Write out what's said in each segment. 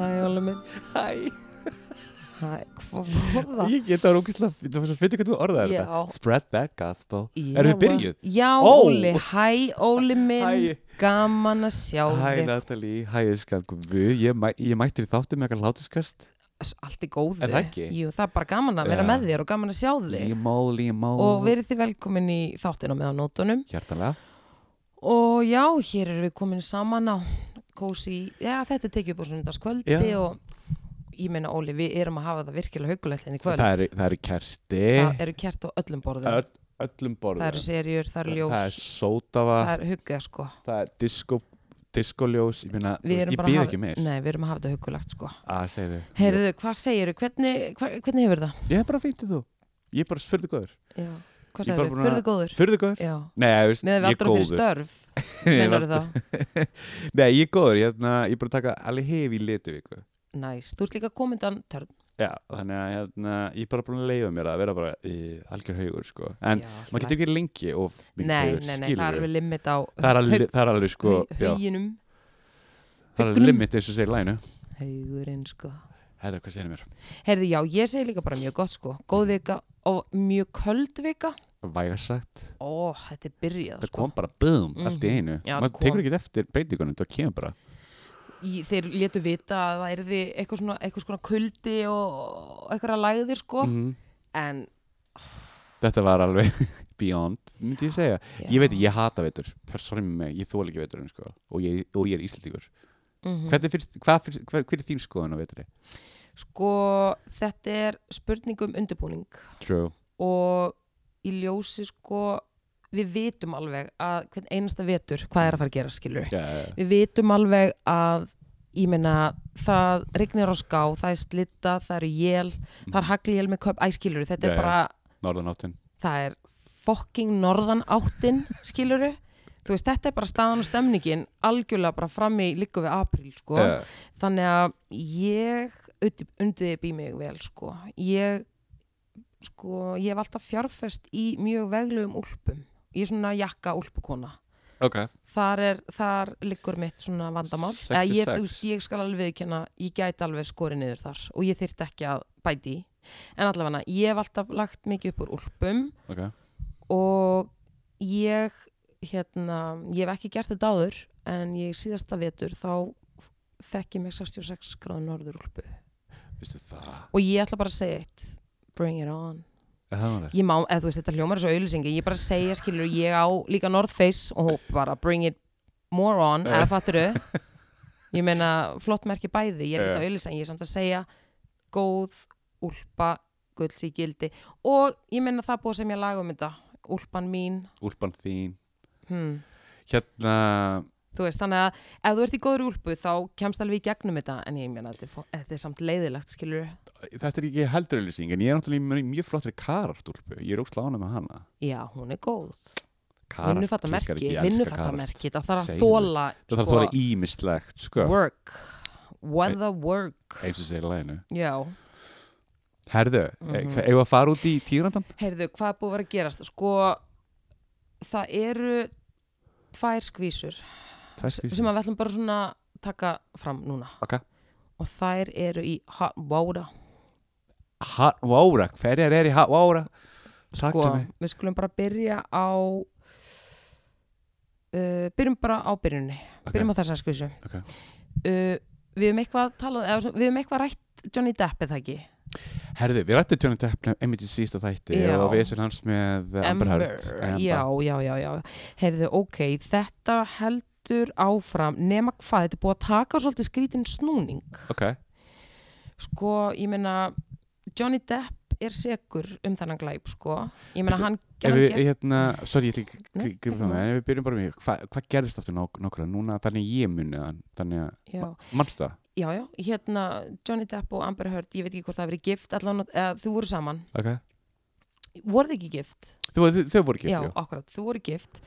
Æ, Óli minn Hæ Hæ, Hvað var það? Ég geta ógæslega Þú finnst hvernig þú orðaði Já. þetta Spread that gospel Ég Erum við var- byrjuð? Já, Ó. Óli, hæ Óli minn Hæ. Gaman að sjá Hæ þig Natalie, hæ Ískan Guð, ég, mæ, ég mættir í þáttum með eitthvað hlátuskast S- Allt í góðu Er það ekki? Jú, það er bara gaman að vera Já. með þér og gaman að sjá þig Límál, límál Og verið þið velkomin í þáttina með á nótunum Hjartalega Og já, hér erum við komin saman á Kósi, já, þetta er tekið upp á sunnudagskvöldi Já. og ég meina Óli, við erum að hafa það virkilega haugulegt henni kvöld Það eru, það eru kerti það eru kjart á öllum borðum öll, Öllum borðum það eru serjur, það eru ljós Það er sótava, það er hugga sko það er disco, diskoljós Ég meina, þú við veist, erum ég bara að býð hafa, ekki meir nei, við erum að hafa þetta hugulegt sko Að segðu heyrðu, hvað segirðu, hvernig, hva, hvernig hefur það Ég er bara fínt í þú Ég er bara fyrðu góður já. hvað Ég er bara segirðu, búin að- fyrir góður Fyrðu góður? já, Nei, þú veist, með ég við er aldrei fyrir góður störf Ég er mennur aldrei- það, Nei, ég er góður, ég, hérna, ég er bara að taka alveg hefi í lituvíku næst, þú ert líka komindan törn, Já, þannig að hérna, ég er bara búin að leiða mér að vera bara í algjör haugur sko. en já, allt maður í getur ekki lengi og lagi. mikið nei, haugur, nei, nei, það er skilur alveg limit á það er alveg, það er alveg sko, já, hauginum það er alveg haugunum. limit eins og segir læginu haugurinn sko Herra, hvað segir mér? heyrðu, já, ég segi líka bara mjög gott sko Mhm. góð vika og mjög köld vika Vægarsagt, ó, þetta er byrjað það sko kom bara boom, Mhm. allt í einu Já, það maður kom. tekur ekki eftir breytingunum, það kemur bara í, þeir létu vita að það erði eitthvað svona, eitthvað svona kuldi og eitthvað lægðir sko Mhm. en Þetta var alveg beyond, myndi ég segja já. Ég veit, ég hata veitur, persónum með, ég þól ekki veitur sko. og, ég, og ég er íslendingur Mhm. Hvernig finnst, hvað finnst, hver, hver er þín skoðan á veitri? sko þetta er spurning um undirbúning True, og í ljósi sko við vitum alveg að hvern einasta vetur hvað er að fara að gera skilur já, já, já. við vitum alveg að ég meina það rignir á ská það er slitta, það eru jél það er hagljél með köp, æskilur þetta Mhm. Já, er já. bara norðanáttin það er fokking norðan áttin skiluru þú veist þetta er bara staðan og stemningin algjörlega bara fram í líka við apríl sko. Já, þannig að ég undirbý mig vel sko. ég sko, ég hef alltaf fjárfest í mjög veglegum úlpum ég er svona jakka úlpukona Ok, þar, er, þar liggur mitt svona vandamál Sex Eða is ég, þú sex. veist, ég skal alveg viðkynna ég gæti alveg skorið niður þar og ég þyrfti ekki að bæti í en allavega ég hef alltaf lagt mikið upp úr úlpum ok og ég hérna, ég hef ekki gert þetta áður en ég síðasta vetur þá fekk ég mig 66 gráður norður úlpu Vistu það? og ég ætla bara að segja eitt bring it on Er það málið? ég má, eða þú veist þetta hljómar þessu auðlýsingi ég bara segja skilur, ég á líka North Face og hóp bara bring it more on eða fatturu ég meina flott merki bæði, ég er Já. þetta auðlýsa en ég er samt að segja góð úlpa gulls í gildi og ég meina það er búið sem ég laga um þetta úlpan mín Úlpan þín hmm. Hérna þú veist, þannig að ef þú ert í góður úlpu þá kemst alveg í gegnum þetta en ég meina, þetta er, fó- þetta er samt leiðilegt skilur Þetta er ekki heldur auðlýsing En ég er náttúrulega mjög, mjög flottri karartúlpu Ég er óksla ánað með hana já, hún er góð, Karart virkar vinnufattamerki ekki, ég elska vinnufattamerki, Sko- það þarf að Segðu. þóla karart. Það þarf að þóra ímislegt sko work weather work Eins og segir læginu já, Herðu, mm Mhm. -hmm. að fara út í tírandan? heyrðu, hvað er búið að vera að gerast sko, það eru tvær skvísur Sko, sem að við ætlum bara svona taka fram núna Ok og þær eru í hot water Vára, hverjar er í ha- Vára? Sakta sko, mig við skulum bara byrja á uh, byrjum bara á byrjunni Ok. byrjum á þessa skvísu Ok. uh, við hefum eitthvað talað eða, svona- við hefum eitthvað rætt Johnny Depp eða ekki Herðu, við rættum Johnny Depp einmitt í sísta þætti Já. og við sér hans með Amber Heard já, já, já, já heyrðu, ok, þetta heldur áfram nema hvað, þetta er búið að taka svolítið skrítin snúning Ok, sko, ég meina Johnny Depp er segur um þennan glæp sko, ég meina Bíddu, hann, Ef hann við, gekk- hérna, sorry, ég ætla ekki Nei, að ekki gripa það mál. með, en ef við byrjum bara með, hva, hvað gerðist aftur nák nákvæmlega núna, þannig ég muni þann, þannig að, já. mannstu það? já, já, hérna Johnny Depp og Amber Heard, ég veit ekki hvort það hafi verið gift allan, eða, þau voru saman, Ok. voru þið ekki gift? Þú, þau, þau voru gift, já, jú? akkurat, þau voru gift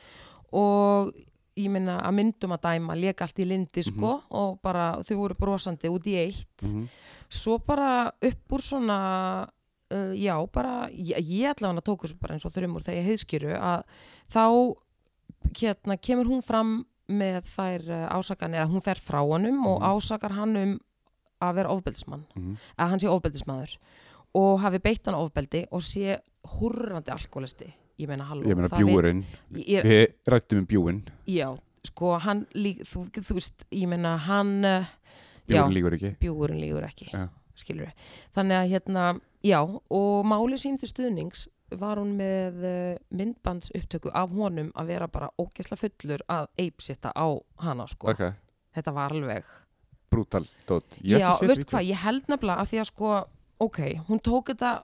og ég meina að myndum að dæma leka allt í lindi sko og bara þau voru brosandi út í eitt Mhm. svo bara upp úr svona uh, já, bara ég, ég ætla hann að tóku svo bara eins og þrjumur þegar ég heiðskýru að þá hérna kemur hún fram með þær eh, ásakanir að hún fer frá honum og Mhm. ásakar hann um að vera ofbeldismann Mhm. að hann sé ofbeldismadur og hafi beitt hann ofbeldi og sé hurrandi alkoholisti ég meina halló Ég meina það veit- bjúurinn, ég, ég, við rættum um bjúinn, já, sko hann lík, þú, þú veist, ég meina hann eh, já, bjúurinn líkur ekki. bjúurinn lígur ekki Já. skilur við, þannig að hérna já, og máli sín til stuðnings var hún með eh, myndbands upptöku af honum að vera bara ógesla fullur að eipsitta á hana sko, Ok, þetta var alveg brútal, dót. já, veist hvað, ég held nefnilega að því að sko, ok, hún tók þetta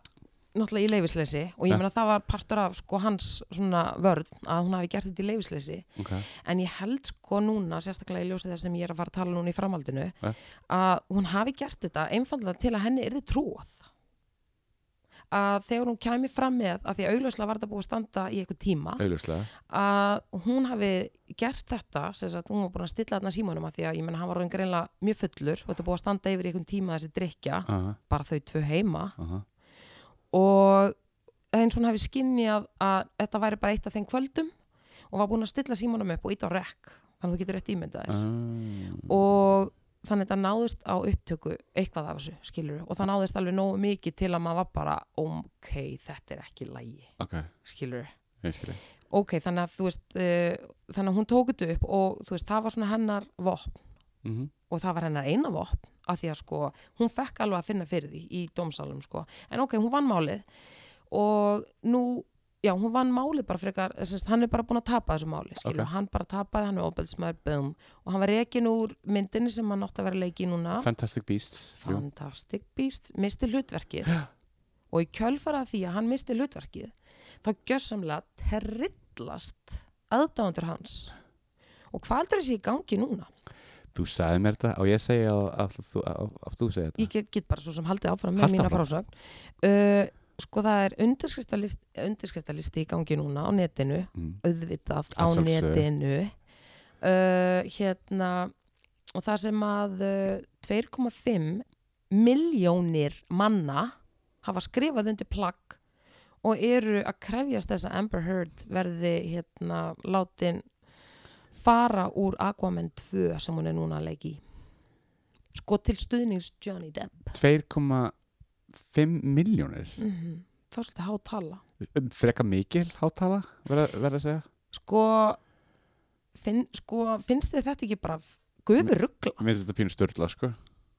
náttúrulega í leifisleysi og ég Ja. meina það var partur af sko hans svona vörn að hún hafi gert þetta í leifisleysi Ok, en ég held sko núna, sérstaklega í ljósi þess sem ég er að fara að tala núna í framhaldinu Ja. að hún hafi gert þetta einfallega til að henni yrði trúað að þegar hún kæmi fram með að því að augljóslega var þetta búið að standa í eitthvað tíma auðvitað. að hún hafi gert þetta sem sagt, hún var búin að stilla þarna símanum að því að ég menna hann var orðin greinlega mjög fullur og þetta búið að standa yfir í einhvern tíma þessi drikja Aha, bara þau tvö heima aha. og eins og hún hafi skinnjað að þetta væri bara eitt af þeim kvöldum og var búin að stilla símanum upp og ít á rekk þannig að þú getur rétt ímyndað þér Ah. og þannig að þetta náðist á upptöku eitthvað af þessu, skilur og það náðist alveg nógu mikið til að maður var bara ok, þetta er ekki lægi, Ok, skilur ég skilji. ok, þannig að þú veist uh, þannig að hún tók þetta upp og þú veist, það var svona hennar vopn Mhm. og það var hennar eina vopn af því að sko, hún fekk alveg að finna fyrir því í dómsalum sko, en ok, hún vann málið og nú já, hún vann málið bara frekar sérst, hann er bara búin að tapa þessu máli skilur, Ok. hann bara tapaði, hann er ofbeldismæður, bum og hann var rekin úr myndinni sem hann átti að vera leiki núna Fantastic Beasts. þrjú. Fantastic Beasts misti hlutverkið og í kjölfarað því að hann misti hlutverkið þá gjössamlega terrillast aðdáðandur hans og hvað heldur þessi í gangi núna? Þú sagði mér þetta og ég segi að, að, þú- að, að þú segir þetta. Ég get, get bara svo sem haldið áfram með Haltu mína áfram. frásögn uh, sko það er undirskriftalisti, undirskriftalisti í gangi núna á netinu Mm. auðvitað á Að sjálfsögðu. netinu uh, hérna og það sem að uh, 2,5 miljónir manna hafa skrifað undir plagg og eru að krefjast þess að Amber Heard verði hérna látin fara úr Aquaman 2 sem hún er núna að leiki sko til stuðnings Johnny Depp 2,5 miljónir. mm -hmm. þá svolítið há tala Freka Um mikil hátala, verða verð að segja. sko, finn, sko finnst þið þetta ekki bara guður ruggla Mér finnst þetta pínu styrla, sko.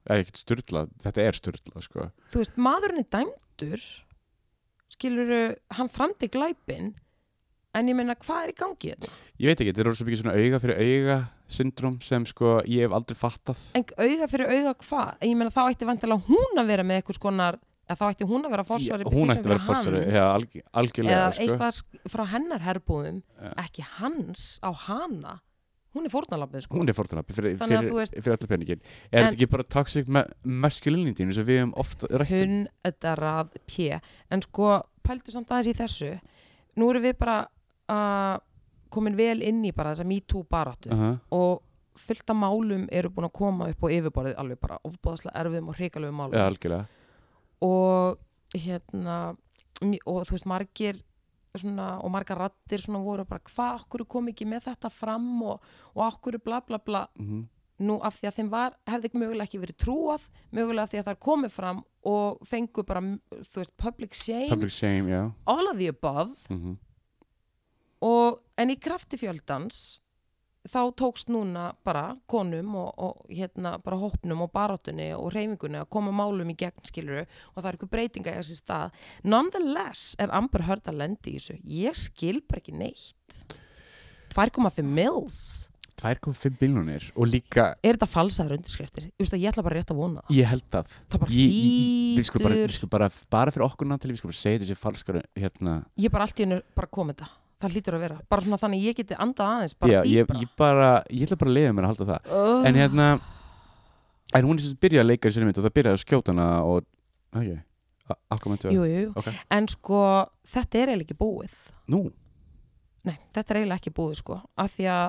Eða ekkert styrla, þetta er styrla, sko. þú veist, maðurinn er dæmdur skilur, hann framdi glæpin en ég meina, hvað er í gangi hérna? þetta? Ég veit ekki, þetta er orðið svo mikið svona auga fyrir auga syndrom sem, sko, ég hef aldrei fattað. En auga fyrir auga hvað? Ég meina, þá ætti vantilega hún að vera með eitthvað skonar, eða þá ætti hún að vera fórsvari Ég- Hún ætti að vera fórsvari, já, alg, eða algjörlega, sko. eitthvað sk- frá hennar herbúðum Já. ekki hans á hana hún er fórnalabið sko Hún er fórtunappi fyrir, Þannig að fyrir, þú veist- fyrir allir peningin. En- Er þetta ekki bara toxic ma masculinity eins og við hefum oft um? rættum? Hunn, þetta rað, pjö en sko, pældu samt aðeins í þessu nú erum við bara uh, komin vel inn í bara þessa me too baráttu Uh og fullt af málum eru búin að koma upp á yfirborðið alveg bara ofbóðslega erfiðum og hrikalegu málum Já, algjörlega. og hérna mj- og þú veist margir svona, og margar rattir svona voru bara hvað okkur kom ekki með þetta fram og, og okkur bla bla bla Mm nú af því að þeim var, hefði ekki mögulega ekki verið trúað mögulega af því að þær komið fram og fengu bara, m- þú veist, public shame Public shame, já. all of the above Mm og, en í krafti fjöldans þá tókst núna bara konum og, og hérna bara hópnum og barátunni og reyfingunni að koma málum í gegn skiluru og það er eitthvað breytinga í þessi stað nonetheless er Amber Heard að lendi í þessu ég skil bara ekki neitt 2,5 mils 2,5 biljónir og líka er þetta falsaðar undirskriftir Ég veist að ég ætla bara rétt að vona það ég held að það bara ég, ég, við sko bara, hlýtur- við sko bara, bara fyrir okkur náttúrulega við sko bara segja þessi falskar hérna ég er bara allt í hennu bara komið þetta það hlýtur að vera, bara svona þannig að ég geti andað aðeins bara já, ég, dýpra ég bara, ég ætla bara að leiða mér að halda það Oh. en hérna, en hún er sem sagt byrjað að leika í sinni mynd og það byrjaði að skjóta hana og, ok, akkomentu jú, jú. Ok. en sko, þetta er eiginlega ekki búið nú, nei, þetta er eiginlega ekki búið sko af því að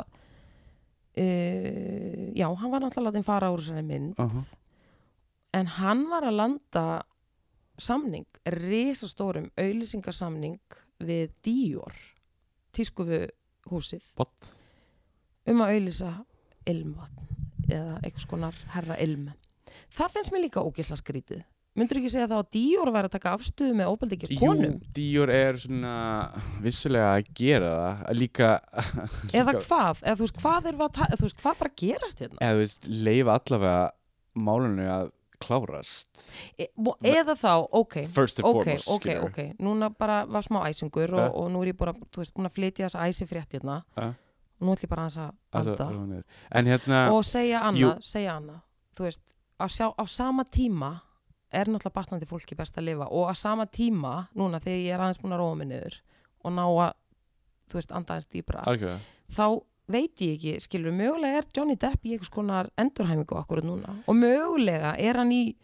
uh, já, hann var náttúrulega látið fara úr þessari mynd Aha. en hann var að landa samning, risastórum auðlýsingarsamning við Dior tískufu húsið what, um að auðlýsa ilmvatn eða einhvers konar herra ilm það finnst mér líka ógisla skrítið myndur ekki segja þá að Díor væri að taka afstöðu með óbeldi ekki konum Jú, Dior er svona vissulega að gera það að líka eða líka- hvað, eða þú veist hvað er að ta- eða þú veist hvað bara gerast hérna eða þú veist, leifa allavega málunni að klárast e, og- eða þá, ok first and ok, foremost ok, skilurðu. ok, núna bara var smá æsingur Ja. og, og nú er ég búin að, þú veist, búin að flytja þessa æsi frétt hérna Ja. og nú ætlum ég bara aðeins að Alltaf anda alveg niður. en hérna og segja Jú. annað, segja annað þú veist, á, sjá, á sama tíma er náttúrulega batnandi fólki best að lifa og á sama tíma, núna þegar ég er aðeins búin að róa mig niður og ná að þú veist, anda aðeins dýbra algjörlega þá veit ég ekki, skilur, mögulega er Johnny Depp í einhvers konar endurhæmingu akkurat núna og mögulega er hann í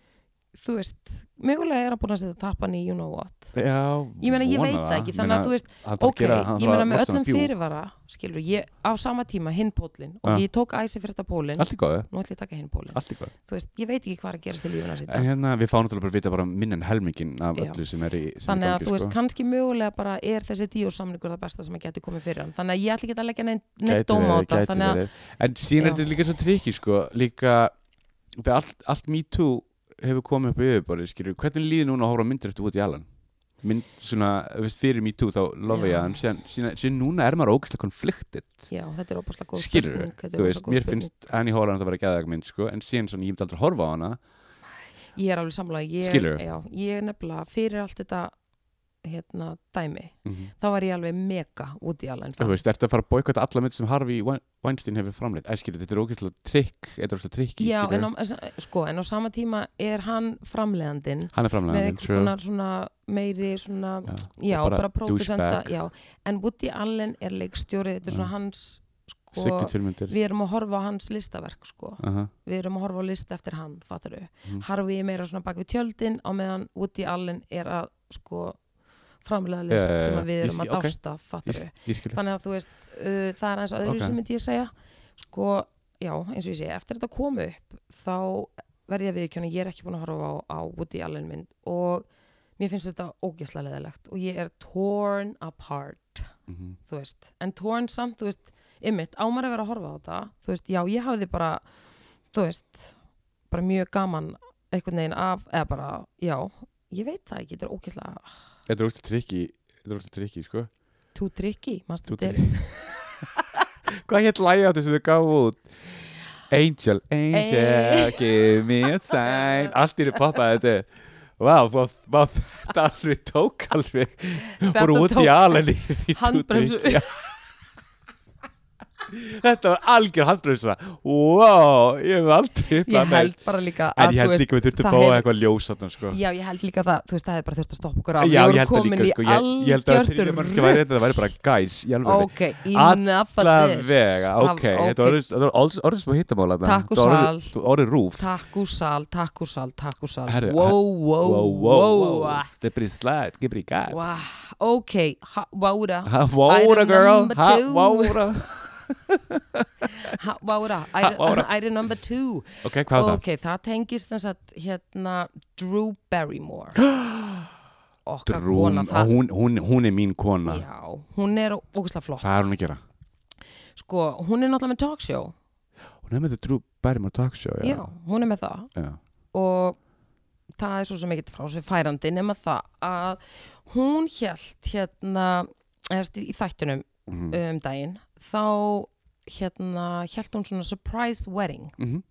þú veist, mögulega er hann búin að setja tappan í you know what Já, ég meina, ég veit það ekki, þannig að þú veist að ok, ég meina með öllum fyrirvara skilur, ég á sama tíma hinn pólinn og Ja. ég tók æsi fyrir þetta pólinn Allt í góðu, nú ætlum ég að taka hinn pólinn allt í góðu þú veist, ég veit ekki hvað er að gerast í lífuna sitt En hérna, við fáum náttúrulega bara að vita bara minn en helmingin af Já. öllu sem er í sem þannig að gangi, þú veist, sko. kannski mögulega bara er þessi díórsamningur það besta sem að geti komið fyrir hann þannig að ég ætla ekki að leggja neitt neinn Gæti dóma á verið, þetta gæti þannig að, verið. En síðan er Já. þetta líka svo trikki sko, líka þegar allt, allt Me Too hefur komið upp í yfirborðið, skilur, hvernig líður núna að horfa á myndir eftir út í Allen? Mynd, svona, þú veist, fyrir Me Too þá lofa Já. ég hann, síðan, síðan, síðan núna er maður ógæslega konfliktitt, já, þetta er opaslega góð skilur, spurning, þetta er þú rosalega veist, góð mér spurning. finnst Annie Hólan að vera gæðað mynd, sko, en síðan svona, ég myndi aldrei horfa á hana, ég er alveg samlega, ég, Skilurðu? já, ég er nefnilega fyrir allt þetta hérna, dæmi, mm þá var ég alveg mega út í alveg þú veist, ertu að fara að boykota alla myndir sem Harvey Wein- Weinstein hefur framleitt, æ, skilur, þetta er ógæslega trikk, þetta er ógæslega trikk, já, skilur, en á, sko, en á sama tíma er hann framleiðandinn hann er með framleiðan, einhvers konar svona meiri svona, Já, já, og bara bara, bara pródusenda douchebag. já, en Woody Allen er leikstjórið þetta er svona Já. hans sko, signature myndir, við erum að horfa á hans listaverk sko. aha, við erum að horfa á list eftir hann fattaru. Mhm. Harfi er meira svona bak við tjöldin á meðan Woody Allen er að sko, framlega Já, list já, já, sem að við ég erum skil- að ok. dásta fattaru. ég, ég skilur, þannig að þú veist uh, það er eins öðru Ok. sem myndi ég segja sko, já, eins og ég segi, eftir þetta kom upp þá verði ég að viðkjöna ég er ekki búin að horfa á, á Woody Allen mynd og mér finnst þetta ógeðslega leðilegt og ég er torn apart mhm. þú veist, en torn samt, þú veist ymmit, ámar að vera að horfa á þetta þú veist, já, ég hafði bara þú veist, bara mjög gaman einhvern veginn af, eða bara já, ég veit það ekki, þetta er ógeðslega Þetta er óslega trikki Þetta er óslega trikki, sko too tricky, mannstu, Too þetta er Hvað hétt lægja þetta sem þau gaf út? Angel, angel, Ey. give me a sign Allt í því poppaði þetta Vá, vá, vá, þetta alveg tók alveg Bóru út í tók- alveg í Too Handbremsu. Tricky. Þetta var algjör handbremsa Vá, ég hef aldrei upplifað ég neitt. held bara líka að En ég þú held veist, líka við það þurftum að fá hefur- eitthvað ljósatn sko. já ég held líka það, þú veist það hefði bara þurft að stoppa okkur af Já, Við ég vorum held það komin líka í sko. ég, ég held að algjört þriðja mannska væri rugl. þetta, það væri bara guys, ég alveg ok, enough of alla this vega, Af- ok, þetta var orðið- þetta var orðið- orðið smá hittamála þarna. Takk og Þetta var orðið- sal. þú- orðið rúf takk úr sal, takk úr sal, takk úr sal Herru, wow, wow, wow, stippri slætt, gibri gæt wow ok, ha- vára Vóra Item girl, number ha, two. vóra ha- vára, vára. æri number two Ok, hvað var það? ok, það tengist þess að hérna Drew Barrymore okkar Drún, kona það hún, hún, hún er mín kona já, hún er ógæslega flott Hvað er hún að gera? sko, hún er náttúrulega með talkshow Hún er með þetta Drew Barrymore Talk Show já, Já, hún er með það já. og það er svo sem ekkert frá sér færandi nema það að hún hélt hérna eftir, í þættunum Mhm. um daginn þá hérna hélt hún svona surprise wedding Mhm.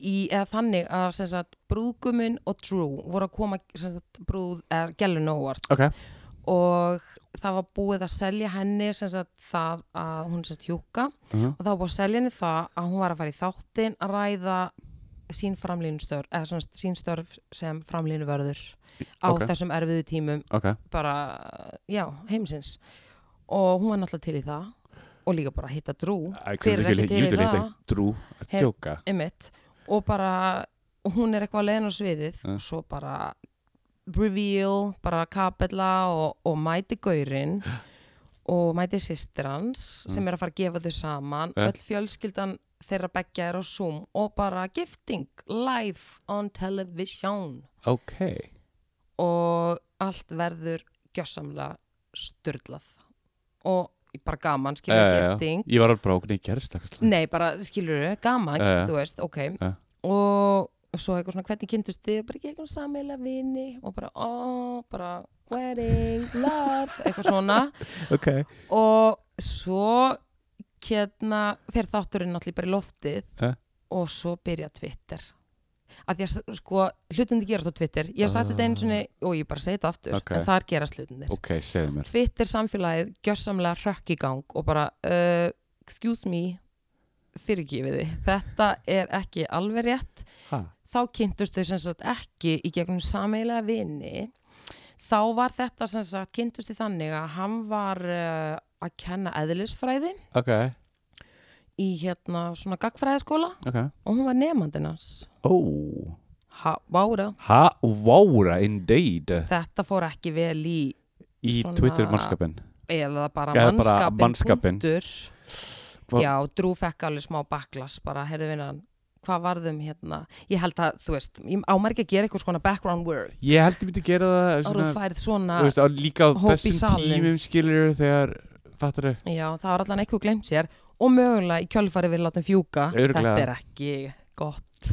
í, eða þannig að sem sagt brúðguminn og Drew voru að koma sem sagt brúð, er gælun óvart Ok, og það var búið að selja henni sem sagt það að hún sem sagt hjúka Mhm. og það var búið að selja henni það að hún var að fara í þáttin að ræða sín framlínustörf eða sem sagt sín störf sem framlínuvörður á Ok. þessum erfiðu tímum ok bara, já, heimsins og hún var náttúrulega til í það og líka bara að hitta drú Æ, hvað Hver er er ekki ekki- til í Ég vil það? eitthvað Drew, er Hey. djóka ymmit og bara, og hún er eitthvað leiðin á sviðið Ja. og svo bara reveal, bara kapella og, og mæti gaurinn og mæti systir hans Mm. sem er að fara að gefa þau saman Ja. öll fjölskyldan þeirra beggja er á Zoom og bara gifting live on television Ok, og allt verður gjössamlega styrlað og bara gaman, skilur já, uh, já. gifting ég var alveg bara okkur, nei, gerist eitthvað slæmt? Nei, bara skilur þau, gaman, Já, já. þú veist, ok Já. og svo eitthvað svona, hvernig kynntust þið bara ekki eitthvað sammeila vini og bara, ó, bara wedding, love, eitthvað svona ok, og svo hérna fer þátturinn náttúrulega bara í loftið Ja. og svo byrja Twitter að því að s- sko hlutindi gerast á Twitter ég hef sagt þetta einu sinni og ég bara segi þetta aftur Ok. en þar gerast hlutindir ok, segðu mér Twitter samfélagið gjörsamlega hrökk í gang og bara uh, excuse me fyrirgifiði, þetta er ekki alveg rétt ha, þá kynntust þau sem sagt ekki í gegnum sameilega vini þá var þetta sem sagt kynntust þau þannig að hann var uh, að kenna eðlisfræði ok, í hérna svona gagfræðiskóla ok og hún var nefandinn hans ó, ha, vára, ha, vára indeed þetta fór ekki vel í í Svona- Twitter mannskapin eða bara Eða bara mannskapin, mannskapinn. punktur Hva- já, Drú fekk alveg smá backlash bara, heyrðu vinnan, hvað varðum hérna ég held að, þú veist, ég ámar ekki að gera eitthvað svona background work, ég held ég myndi gera það ára svona, þú færið svona þú veist, á, líka á hóp í þessum salinn. tímum skilur þegar, fattar þau Já, það var allan eitthvað glemt sér og mögulega í kjölfari við látum fjúka Örugglega. Þetta er ekki gott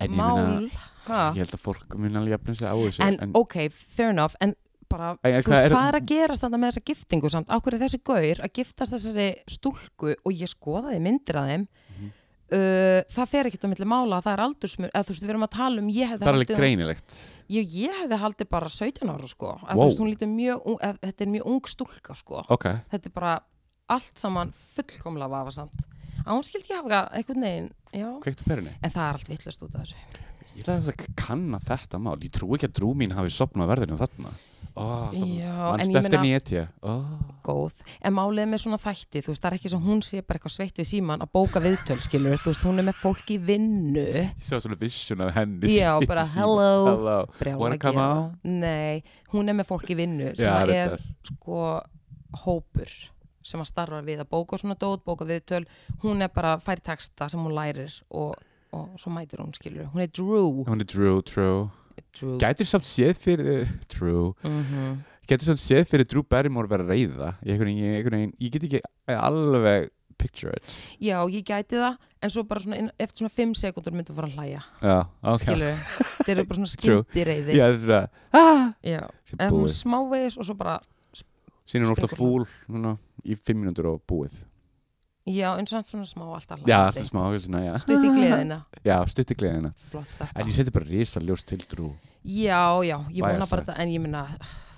en ég mál meina, ha. ég held að fólk mun alveg jafna sig á þessu en, ok, fair enough en bara, En er- þú veist, hvað er- hvað er að gerast þetta með þessa giftingu samt? Ákveður er þessi gaur að giftast þessari stúlku og ég skoðaði myndir að þeim Mhm. uh, það fer ekkert á milli mála það er aldursmur, eða þú veist, við erum að tala um ég hefði það er alveg haldið- greinilegt ég, ég hefði haldið bara 17 ára sko, að Wow. þú veist, hún lítið mjög ung- að, þetta er mjög ung stúlka sko ok, þetta er bara allt saman fullkomlega vafasamt að hún skildi ég hafa eitthvað negin já. kveikt á perunni en það er allt vittlust út af þessu Ég ætla þess að kanna þetta mál. Ég trú ekki að drú mín hafi sopnað verðinu þarna. Ó, Já, en mannst ég eftir meina- nýjeti. Ó, góð, en málið með svona þætti þú veist, það er ekki svo hún sé bara eitthvað sveitt við síman að bóka viðtöl, skilur, þú veist, hún er með fólk í vinnu ég sá svona vision af henni. Já, sem- bara, sem- hello. hello. Brjála Wanna come gera. out? nei, hún er með fólk í vinnu sem Já, að er reyndar. sko hópur sem að starfa við að bóka svona dót, bóka viðtöl hún er bara, fær texta sem hún lærir og, og svo mætir hún, skilur hún er Drew, Hún er Drew, Drew. Drew. Gætur samt séð fyrir þér, Drew. Mm Gætur samt séð fyrir Drew Barrymore vera reyða. Ég, einhvern veginn- ég, einhvern veginn- ég get ekki alveg picture it. Já, ég gæti það, en svo bara svona inn, eftir svona 5 sekundur myndi að fara að hlæja Já, ok. skilur, þeir eru bara svona True. skyndireyði Ég er það. Ah! Já, Sem en hún búið. smávegis og svo bara, Sín er hún ofta Springur fúl núna í fimm mínútur og búið. já, eins og svona smá alltaf Já, alltaf smá. ok, svona, Já, Stutt í gleðina, já stutt í gleðina. flott En steppa ég seti bara risa ljós til Drew. Já, já, ég vona Vægast bara sagt. þetta, en ég minna,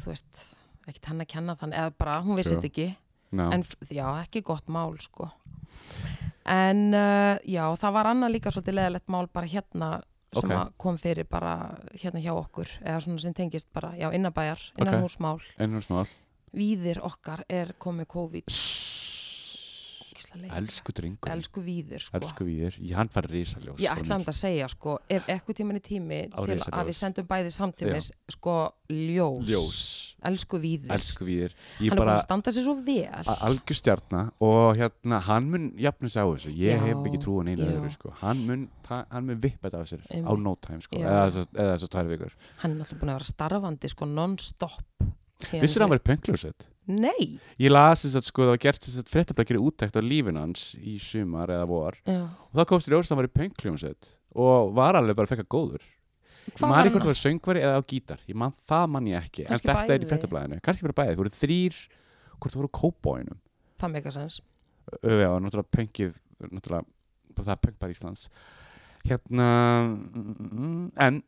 þú veist, ekkert henn að kenna þann, eða bara, hún vissi True. þetta ekki No. En f- já, ekki gott mál, sko En uh, já, það var annað líka svolítið leðalegt mál bara hérna sem Ok. að kom fyrir bara hérna hjá okkur eða svona sem tengist bara, já, innabæjar innan Ok. húsmál Ennur smál Víðir okkar er komið COVID Ógeðslega leiðinlegt. Elsku drengur Elsku, Elsku víðir sko. Elsku við þér Ég hann fær risaljós Ég ætla hann að segja sko, ef eitthvað tíman er tími Á til risaljós. að við sendum bæði samtímis sko ljós. Ljós Elsku víðir. Elsku við þér Ég Hann er bara bara að standa sér svo vel. a- algjör stjarna og hérna hann mun jafna sig á þessu ég Já, hef ekki trúan einu já. öðru sko. hann mun, ta- hann mun vippa þetta af sér á Einmitt. no time sko. Já. eða þess- eða þess að tvær vikur Hann er alltaf búin að vera starfandi sko non-stop. síðan vissir hann verið pöngljósett þessi- Nei. ég las þess að sko það var gert þess að fréttablækir úttækt á lífin hans í sumar eða vor Já. og þá komst þér að hann verið pöngljósett og var alveg bara fekka góður Ég Hvað man var ekki hann? hvort það var söngvari eða á gítar ég man, það man ég ekki, Kannski en þetta er bæði. í fréttablaðinu kannski bara bæðið, þú voru þrýr hvort það voru kóbóinum Það meika sens. öfja og náttúrulega pöngið náttúrulega, bara það er pöngbar Íslands hérna mm, en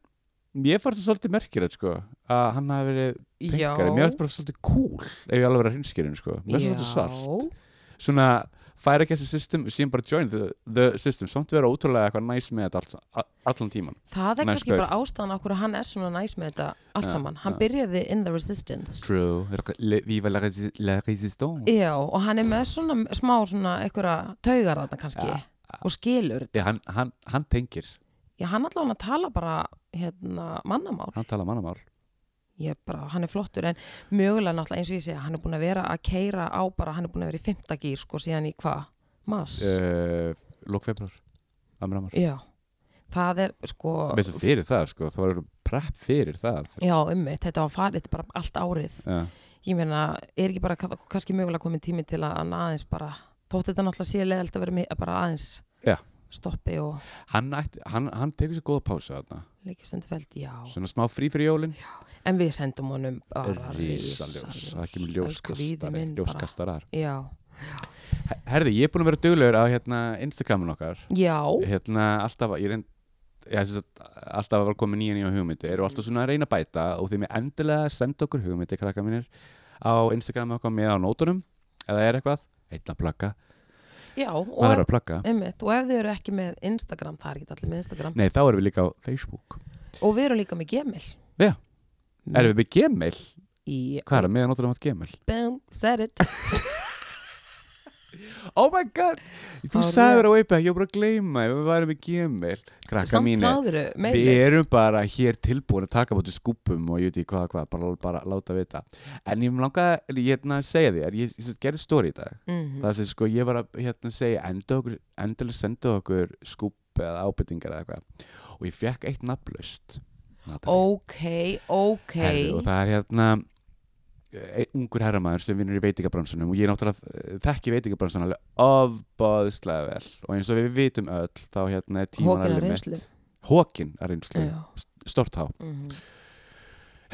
ég fannst það svolítið merkilegt sko, að hann hafi verið Já. pöngari, mér fannst bara svolítið cool ef ég alveg verið að hinskirinn sko, mér fannst svolítið svart Já. svona færa ekki þessi system, síðan bara join the, the system, samt vera ótrúlega eitthvað næs með þetta allt, a- allan tíman Það er Næs kannski gaur. bara ástæðan okkur að hann er svona næs með þetta allt Já, saman. Hann já. byrjaði in the resistance. True, viva la, rési- la résistance Já, og hann er með svona smá svona einhverja taugar þarna kannski Ja, og skilur. Ég, hann, hann, hann tengir, Já, hann allavega tala bara hérna, mannamál. hann tala mannamál Ég bara, hann er flottur en mögulega náttúrulega eins og ég segja, hann er búin að vera að keira á bara, hann er búin að vera í fimmtagýr sko síðan í hvað? Mas? uh, Lók februar Amramar Já. Það er sko, Veistu fyrir það sko, það var prep fyrir það já ummitt, þetta var farið bara allt árið. Já, ég meina, er ekki bara ka- kannski mögulega komin tími til að hann aðeins bara, þótt þetta náttúrulega sé leðalt að vera mi- að bara aðeins Já. stoppi og hann, ætti- hann, hann tekur sér góða pása þarna leikistundu fælt, já svona smá frí fyrir jólin en við sendum honum bara risaljós, sko, það kemur Elsku Víðir ljóskastari minn bara. ljóskastarar já, herði, ég er búin að vera duglegur á hérna, Instagramin okkar já, hérna, alltaf, ég reynd Já, sem sagt, alltaf að vera komið nýja nýja hugmyndir og alltaf svona að reyna að bæta og þeim ég endilega senda okkur hugmyndir krakka mínir á Instagram okkar með á nótunum eða er eitthvað, eitthvað að plugga já og, maður er að plugga einmitt, og ef þið eru ekki með Instagram það er ekki allir með Instagram Nei, þá erum við líka á Facebook og við erum líka með Gmail Já. Með- Erum við með Gmail? í Hvað er það? Meðan notur um átt Gmail? boom, said it Oh my god! Þú Það er sagður á Wayback, ég var bara að gleyma ef við værum með Gmail Krakka samt mínu, sáður við erum bara hér tilbúin að taka bátu skúpum og ég veit ekki hvað, hvað, bara, bara láta vita En ég langa, ég hérna að segja þér, ég, ég gerði stóri í dag mm Það sem sko ég var að hérna segja enda okkur, endilega senda okkur skúp eða ábyrtingar eða eitthvað Og ég fekk eitt nafnlaust Natalie. ok, ok Herðu, og það er hérna eh, einn ungur herramæður sem vinnur í veitingabransunum og ég náttúrulega eh, þekki veitingabransun alveg ofbáðslega vel og eins og við vitum öll þá hérna er tíman hókina alveg reynslu hókin að reynslu, já, stort há mhm.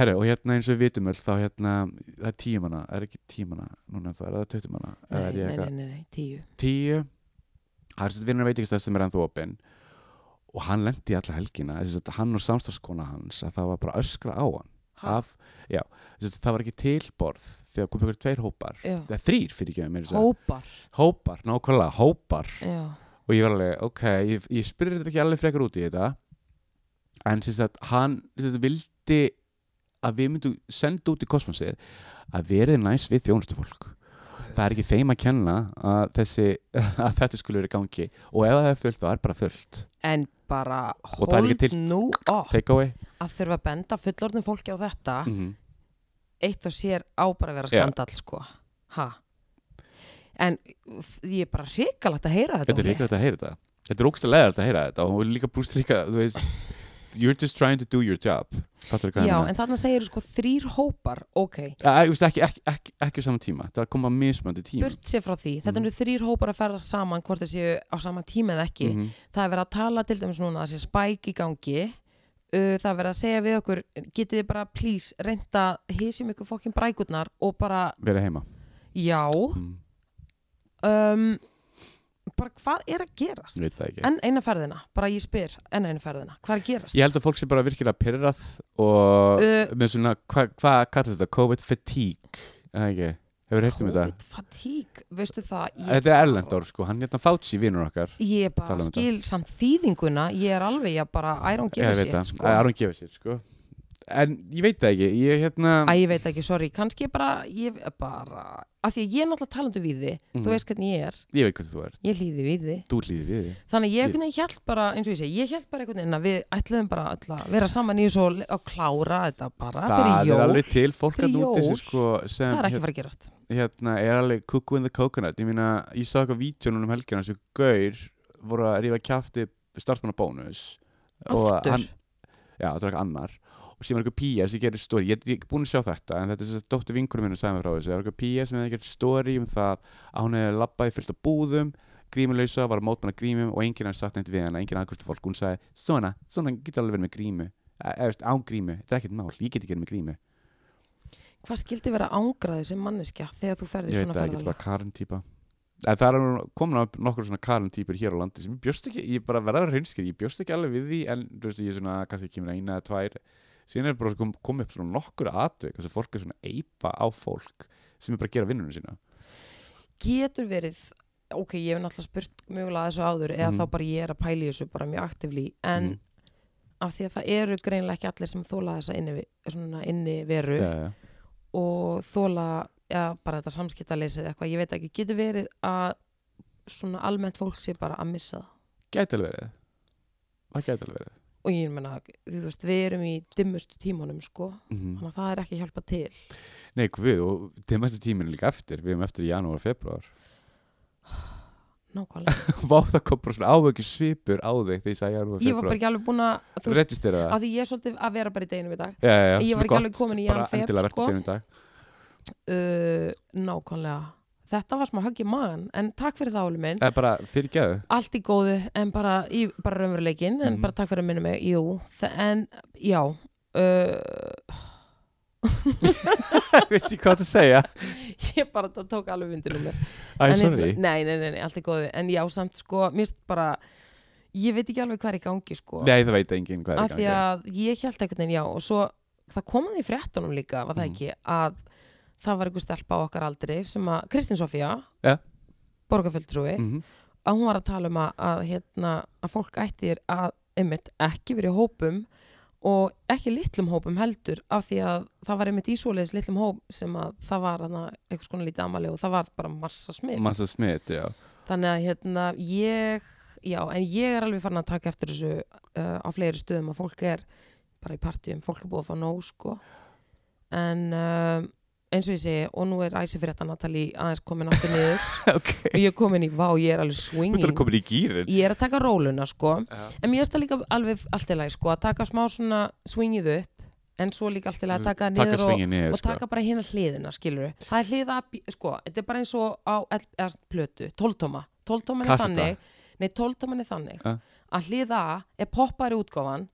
herru og hérna eins og við vitum öll þá hérna það er tímana, er ekki tímana núna þá er það tautumana nei, er ég nei, eitthvað nei, nei, nei, tíu tíu það er sett vinnur veitingastæð sem er ennþá opinn og hann lendi alla helgina þess að hann og samstafskona hans að það var bara að öskra á hann af, já, þess að það var ekki tilborð þegar komið ykkur tveir hópar já. það er þrýr fyrir ekki að mér hópar hópar, nákvæmlega, hópar já, og ég var alveg, ok, ég, ég spyrir þetta ekki alveg frekar út í þetta en þess að hann sem sagt, vildi að við myndum senda út í kosmosið að verið næs við þjónustufólk það er ekki þeim að kenna að, þessi, að þetta skulle verið í gangi og ef það er fullt, þá er bara fullt en bara Og það er ekki hold nú off take away að þurfa að benda fullorðnum fólki á þetta mm -hmm. eitt og sér á bara að vera Já. skandall sko ha en f- ég er bara hrikalegt að heyra þetta Þetta er Óli. ríkilegt að heyra þetta Þetta er ógst að leiða að heyra þetta og líka brúst líka, þú veist You're just trying to do your job Fattur hvað já, hann en þarna segir sko þrýr hópar ok, meina ekki, ekki, ekki, ekki á sama tíma Það kom að mismöndi tíma burt sér frá því Mhm. þetta eru þrýr hópar að ferða saman hvort þið séu á sama tíma eða ekki Mhm. það er verið að tala til dæmis núna að það sé spæk í gangi uh, það er verið að segja við okkur getið þið bara please reynda hísum ykkur fokkin brækurnar og bara Verið heima já mm. um, bara hvað er að gerast Ég veit það ekki enn eina ferðina, bara ég spyr enn eina ferðina, hvað er að gerast Ég held að fólk sé bara virkilega pyrrað og Uh, með svona, hvað hva, kallar þetta? COVID fatigue Er það ekki? Hefur heyrt um þetta? COVID fatigue, veistu það ég, Þetta er erlend orð sko, hann hérna Fauci vinnur okkar ég bara Tala um þetta. skil samt þýðinguna ég er alveg, ég bara, I don't give Ég a veit shit það, sko. það er hún gefið sér sko En ég veit það ekki, ég hérna Æ, ég veit ekki, sorry, kannski ég bara, ég bara, að því að ég er náttúrulega talandu við þið, Mhm. þú veist hvernig ég er, Ég veit hvernig þú ert, ég hlýði við þið, þú líði við þig þannig að Ég- ég einhvern veginn hjælt bara, eins og ég segi, ég hjælt bara einhvern veginn að við ætluðum bara öll að vera saman í þessu og le- og klára þetta bara það fyrir er jól, alveg til fólk að Fyrir úti sem jól. sko sem það er ekki hér- fara að gerast. hérna er alveg cuckoo in the coconut ég meina, ég sá eitthvað vídeo núna um helgina sem gaur voru að rífa kjafti starfsmanna bónus Aftur? já, þetta var eitthvað annar og síðan var eitthvað pía sem gerir story ég, ég er búin að sjá þetta, en þetta er þess að dóttir vinkurum minna sagði mér frá þessu, það var eitthvað pía sem hefði gerir story um það að hún hefði labbaði fyllt á búðum grímulausa, var að mótmanna grímum og enginn hafði sagt neitt við hana, enginn aðkvæmstu fólk hún sagði, svona, svona getur alveg verið með grímu eða, eða, veist, án grímu, þetta er ekkert mál, ég get ekki verið með grímu Hvað skildi vera ángraði sem manneskja þegar þú ferði ég veit svona það ekki, sko. ferðalag? þetta er bara Karen týpa en það er nú- komin að nokkur svona Karen týpur hér á landi sem ég bjóst ekki, ég bara verða hreinskir ég bjóst ekki alveg við því en þú veist ég svona kannski kemur eina eða tvær síðan er bara kom, komið upp svona nokkur atvik þess að fólk er svona eipa á fólk sem er bara að gera vinnunum sína Getur verið, ok, ég hef náttúrulega spurt mögulega að þessu áður eða Mhm. þá bara ég er að pæli þessu bara mjög aktivlí, en Mhm. af því að það eru greinlega ekki allir sem þóla þessa inni, svona inni veru já, já. og þóla ja, bara þetta samskiptaleysið eða eitthvað, ég veit ekki, getur verið að svona almennt fólk sé bara að missa það gæti alveg verið það gæti alveg verið og ég menna, þú veist, við erum í dimmustu tímanum sko, mm þannig að það er ekki að hjálpa til nei guð og til mesta tíminu líka eftir við erum eftir í janúar og februar nákvæmlega, vá það kom bara svona áveiki svipur á þig þegar ég sagði janúar og ég var bara februar ekki alveg búin að þú veist, rettist þér það að því ég er svolítið að vera bara í deginum í dag já, já, já, ég sem var er ekki alveg gott. komin í bara janúar, feb, endilega vertu sko. til í dag uh, nákvæmlega þetta var smá högg í magan en takk fyrir það Óli minn eða bara fyrirgeðu allt í góðu en bara, í, bara raunveruleikin en Mhm. bara takk fyrir að minna mig jú, þa- en já uh, veit ekki hvað það segja ég bara það tók alveg vindinu mér Æ, En sorry ég- nei, nei, nei, nei, allt í góðu en já, samt sko, mér finnst bara ég veit ekki alveg hvað er í gangi sko nei það veit enginn hvað af er í því gangi að ég held einhvern veginn já og svo það komaði í fréttunum líka var það Mhm. ekki að það var einhver stelpa á okkar aldri sem að Kristín Sofía Ja. borgarfjöldtrúi Mhm. að hún var að tala um að, að, hérna, að fólk ættir að einmitt ekki verið í hópum og ekki litlum hópum heldur af því að það var einmitt í svoleiðis litlum hóp sem að það var hana, einhvers konar lítið amali og það var bara massa smil massa smitt já þannig að hérna ég já en ég er alveg farin að taka eftir þessu uh, á fleiri stöðum að fólk er bara í partíum, fólk er búið að fá nóg sko en uh, eins og ég segi og nú er æsi fyrir þetta Natalie aðeins komin aftur niður ok og ég er komin í vá, ég er alveg þú swinging ert að koma í gýrin ég er að taka róluna sko Já. en mér er það líka alveg allt í lagi sko að taka smá svona swingið upp en svo líka allt í lagi að taka það Mm, taka niður og, svingin niður og sko. taka bara hérna hliðina skilur það er hliða, sko, þetta er bara eins og á L- eða sem sagt plötu, tóltóma tóltóman er Kasta. þannig, nei tóltóman er þannig Ja. að hliða A er poppari útgáfan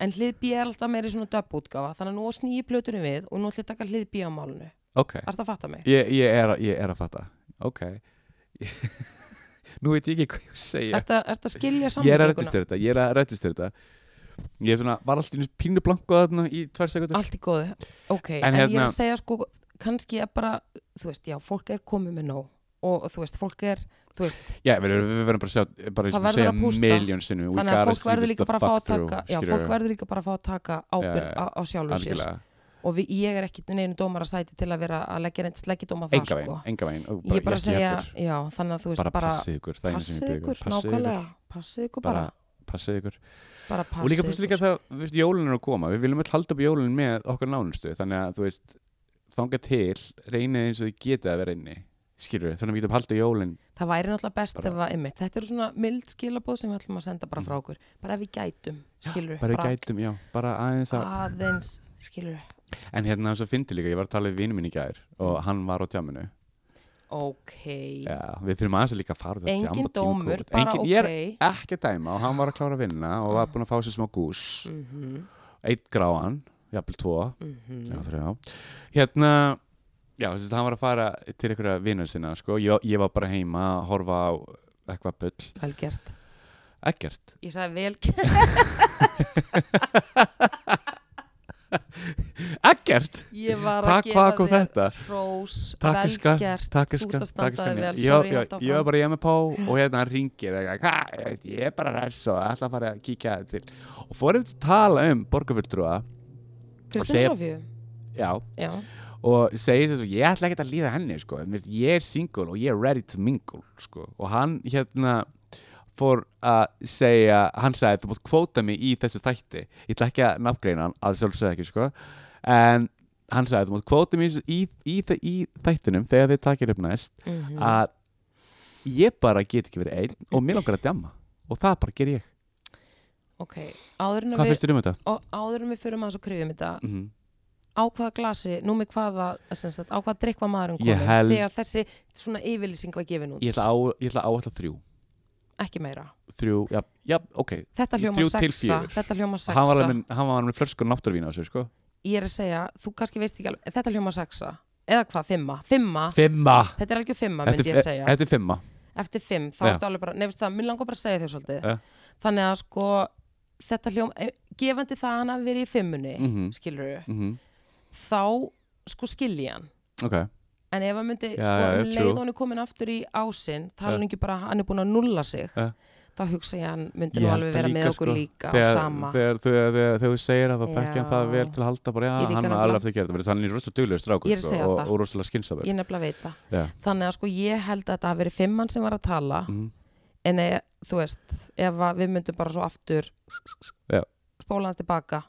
en hlið B er alltaf meiri svona döpp útgáfa þannig að nú snýi plötunum við og nú ætlum ég að taka hlið B á málunu, ok er það að fatta mig? ég, ég, er, að- ég er að fatta ok nú veit ég ekki hvað ég á að segja Er það að skilja ég er að samlíkinguna? rættist þér þetta ég er að rættist þér þetta ég er svona var alltaf einu pínu blanku þarna í tvær sekundur Allt í góðu, ok, en, En ég er hérna- að segja sko, kannski er bara, þú veist, já, fólk er komið með nóg og þú veist, fólk er, þú veist, já við verðum við verðum bara að sjá bara Það eins og verður segja að pústa. miljón sinnum We þannig að gotta fólk see verður this líka the bara að fá að fuck through, taka, já, skilurðu. fólk verður líka bara að fá að taka ábyrð Já, á, á sjálfu sér algjörlega og við, ég er ekkit neinu dómar að sæti til að vera að leggja neitt sleggjadóma það, enga veginn, sko. enga veginn og Ég er bara að ekki segja, heldur. já, þannig að þú veist, bara bara, passið ykkur, það er einu sem ég passið byggur ykkur, nákvæmlega, passið ykkur bara, bara passið ykkur bara passið og líka pluss líka það, þú veist, jólun er að koma við viljum alltaf halda upp jólun með okkar nánustu þannig að þú veist, þanga til reynið eins og þið getið að vera inni skilur við, þannig að við getum halda jólun Það væri náttúrulega best Bara- ef að, einmitt, þetta eru svona mild skilabóð sem við ætlum að senda bara frá Mhm. okkur, bara ef við gætum, skilur, bara við gætum, já, bara aðeins Ah. að aðeins, skilur, en hérna þess að fyndi líka, ég var að tala við vinum minn í gær Mm. og hann var á tjáminu ok, já, við þurfum aðeins að líka fara á þetta djam engin og tíma dómur, kók. bara Ah. Engin- ok. ég er ekki að dæma og hann var að klára að vinna og var búin að fá sér smá gús Mhm, eitt gráan, jafnvel tvo mhm. já, þrjá hérna, já, þess að hann var að fara til einhverja vinnar sinna, sko ég, ég var bara heima að horfa á eitthvað bull, Vel gert. ekkert Ég sagði vel gert. ekkert, Ég var að takk hvað kom gefa þér þetta rós, takk vel er skatt, gert. takk er þú ert skatt að standa takk er þig skatt, vel, já, sorry, já, held áfram. ég var bara hjá með pá og hérna hann ringir eitthvað, "Ha, ég er bara ræs og ætla að fara að kíkja til og fórum til að tala um borgarfulltrúa Kristinn segja- Sofíu. já, Já, og segir þess að ég ætla ekkert að líða henni sko. Þú veist, ég er single og ég er ready to mingle sko. og hann hérna fór að segja hann sagði þú mátt kvóta mig í þessu þætti ég ætla ekki að nafngreina hann að sjálfsögðu ekki sko. en hann sagði þú mátt kvóta mig í, í, í, þa- í þættinum þegar þið takir upp næst mhm. að ég bara get ekki verið einn og mér langar að djama og það bara ger ég ok. Áður en við, hvað finnst þér um þetta? og áður en við förum aðeins og kryfum þetta, Mm á hvaða glasi, nú með hvaða, sem sagt, á hvaða drikkva maðurinn Ég komið, held- þegar þessi svona yfirlýsing var gefin út, ég ætla á- ég ætla að áætla þrjú ekki meira. þrjú, já, já, ok Þetta hljóma Þrjú til sexa, fjögur. þetta hljóma sexa. hann var, alveg með, hann var alveg með flösku náttúrvín á sér sko Ég er að segja, þú kannski veist ekki alveg, þetta hljóma sexa, eða hvað, fimma, fimma, Fimma þetta er algjör fimma, Þetta myndi ég er að segja. þetta er fimma eftir fimm, þá Já. ertu alveg bara nefnst það, mér langar bara að segja þér svolítið Ja. þannig að sko, þetta hljóm eh, gefandi það hann að vera í fimmunni mm. Mhm, skilur mhm, þá sko skilji hann Ok en ef hann myndi, Já, sko, já, um já, leið true. og hann er komin aftur í ásinn tala Ja. hann ekki bara, að hann er búin að nulla sig Ja. þá hugsa ég að hann myndi Ég nú held alveg það vera með líka, okkur sko, líka og Þegar sama þegar- þegar- þegar- þegar þú segir að það þekki hann það Já. vel til að halda bara, Ég já, líka hann er nefnilega. alveg aftur að gera þetta Þannig að hann er rosalega duglegur Ég er strákur að sko, segja og, það. og rosalega skynsafur ég nefnilega veit það Já. þannig að sko ég held að þetta hafi verið fimmann sem var að tala Mhm. en e, þú veist, ef að við myndum bara svo aftur Já. spóla hans tilbaka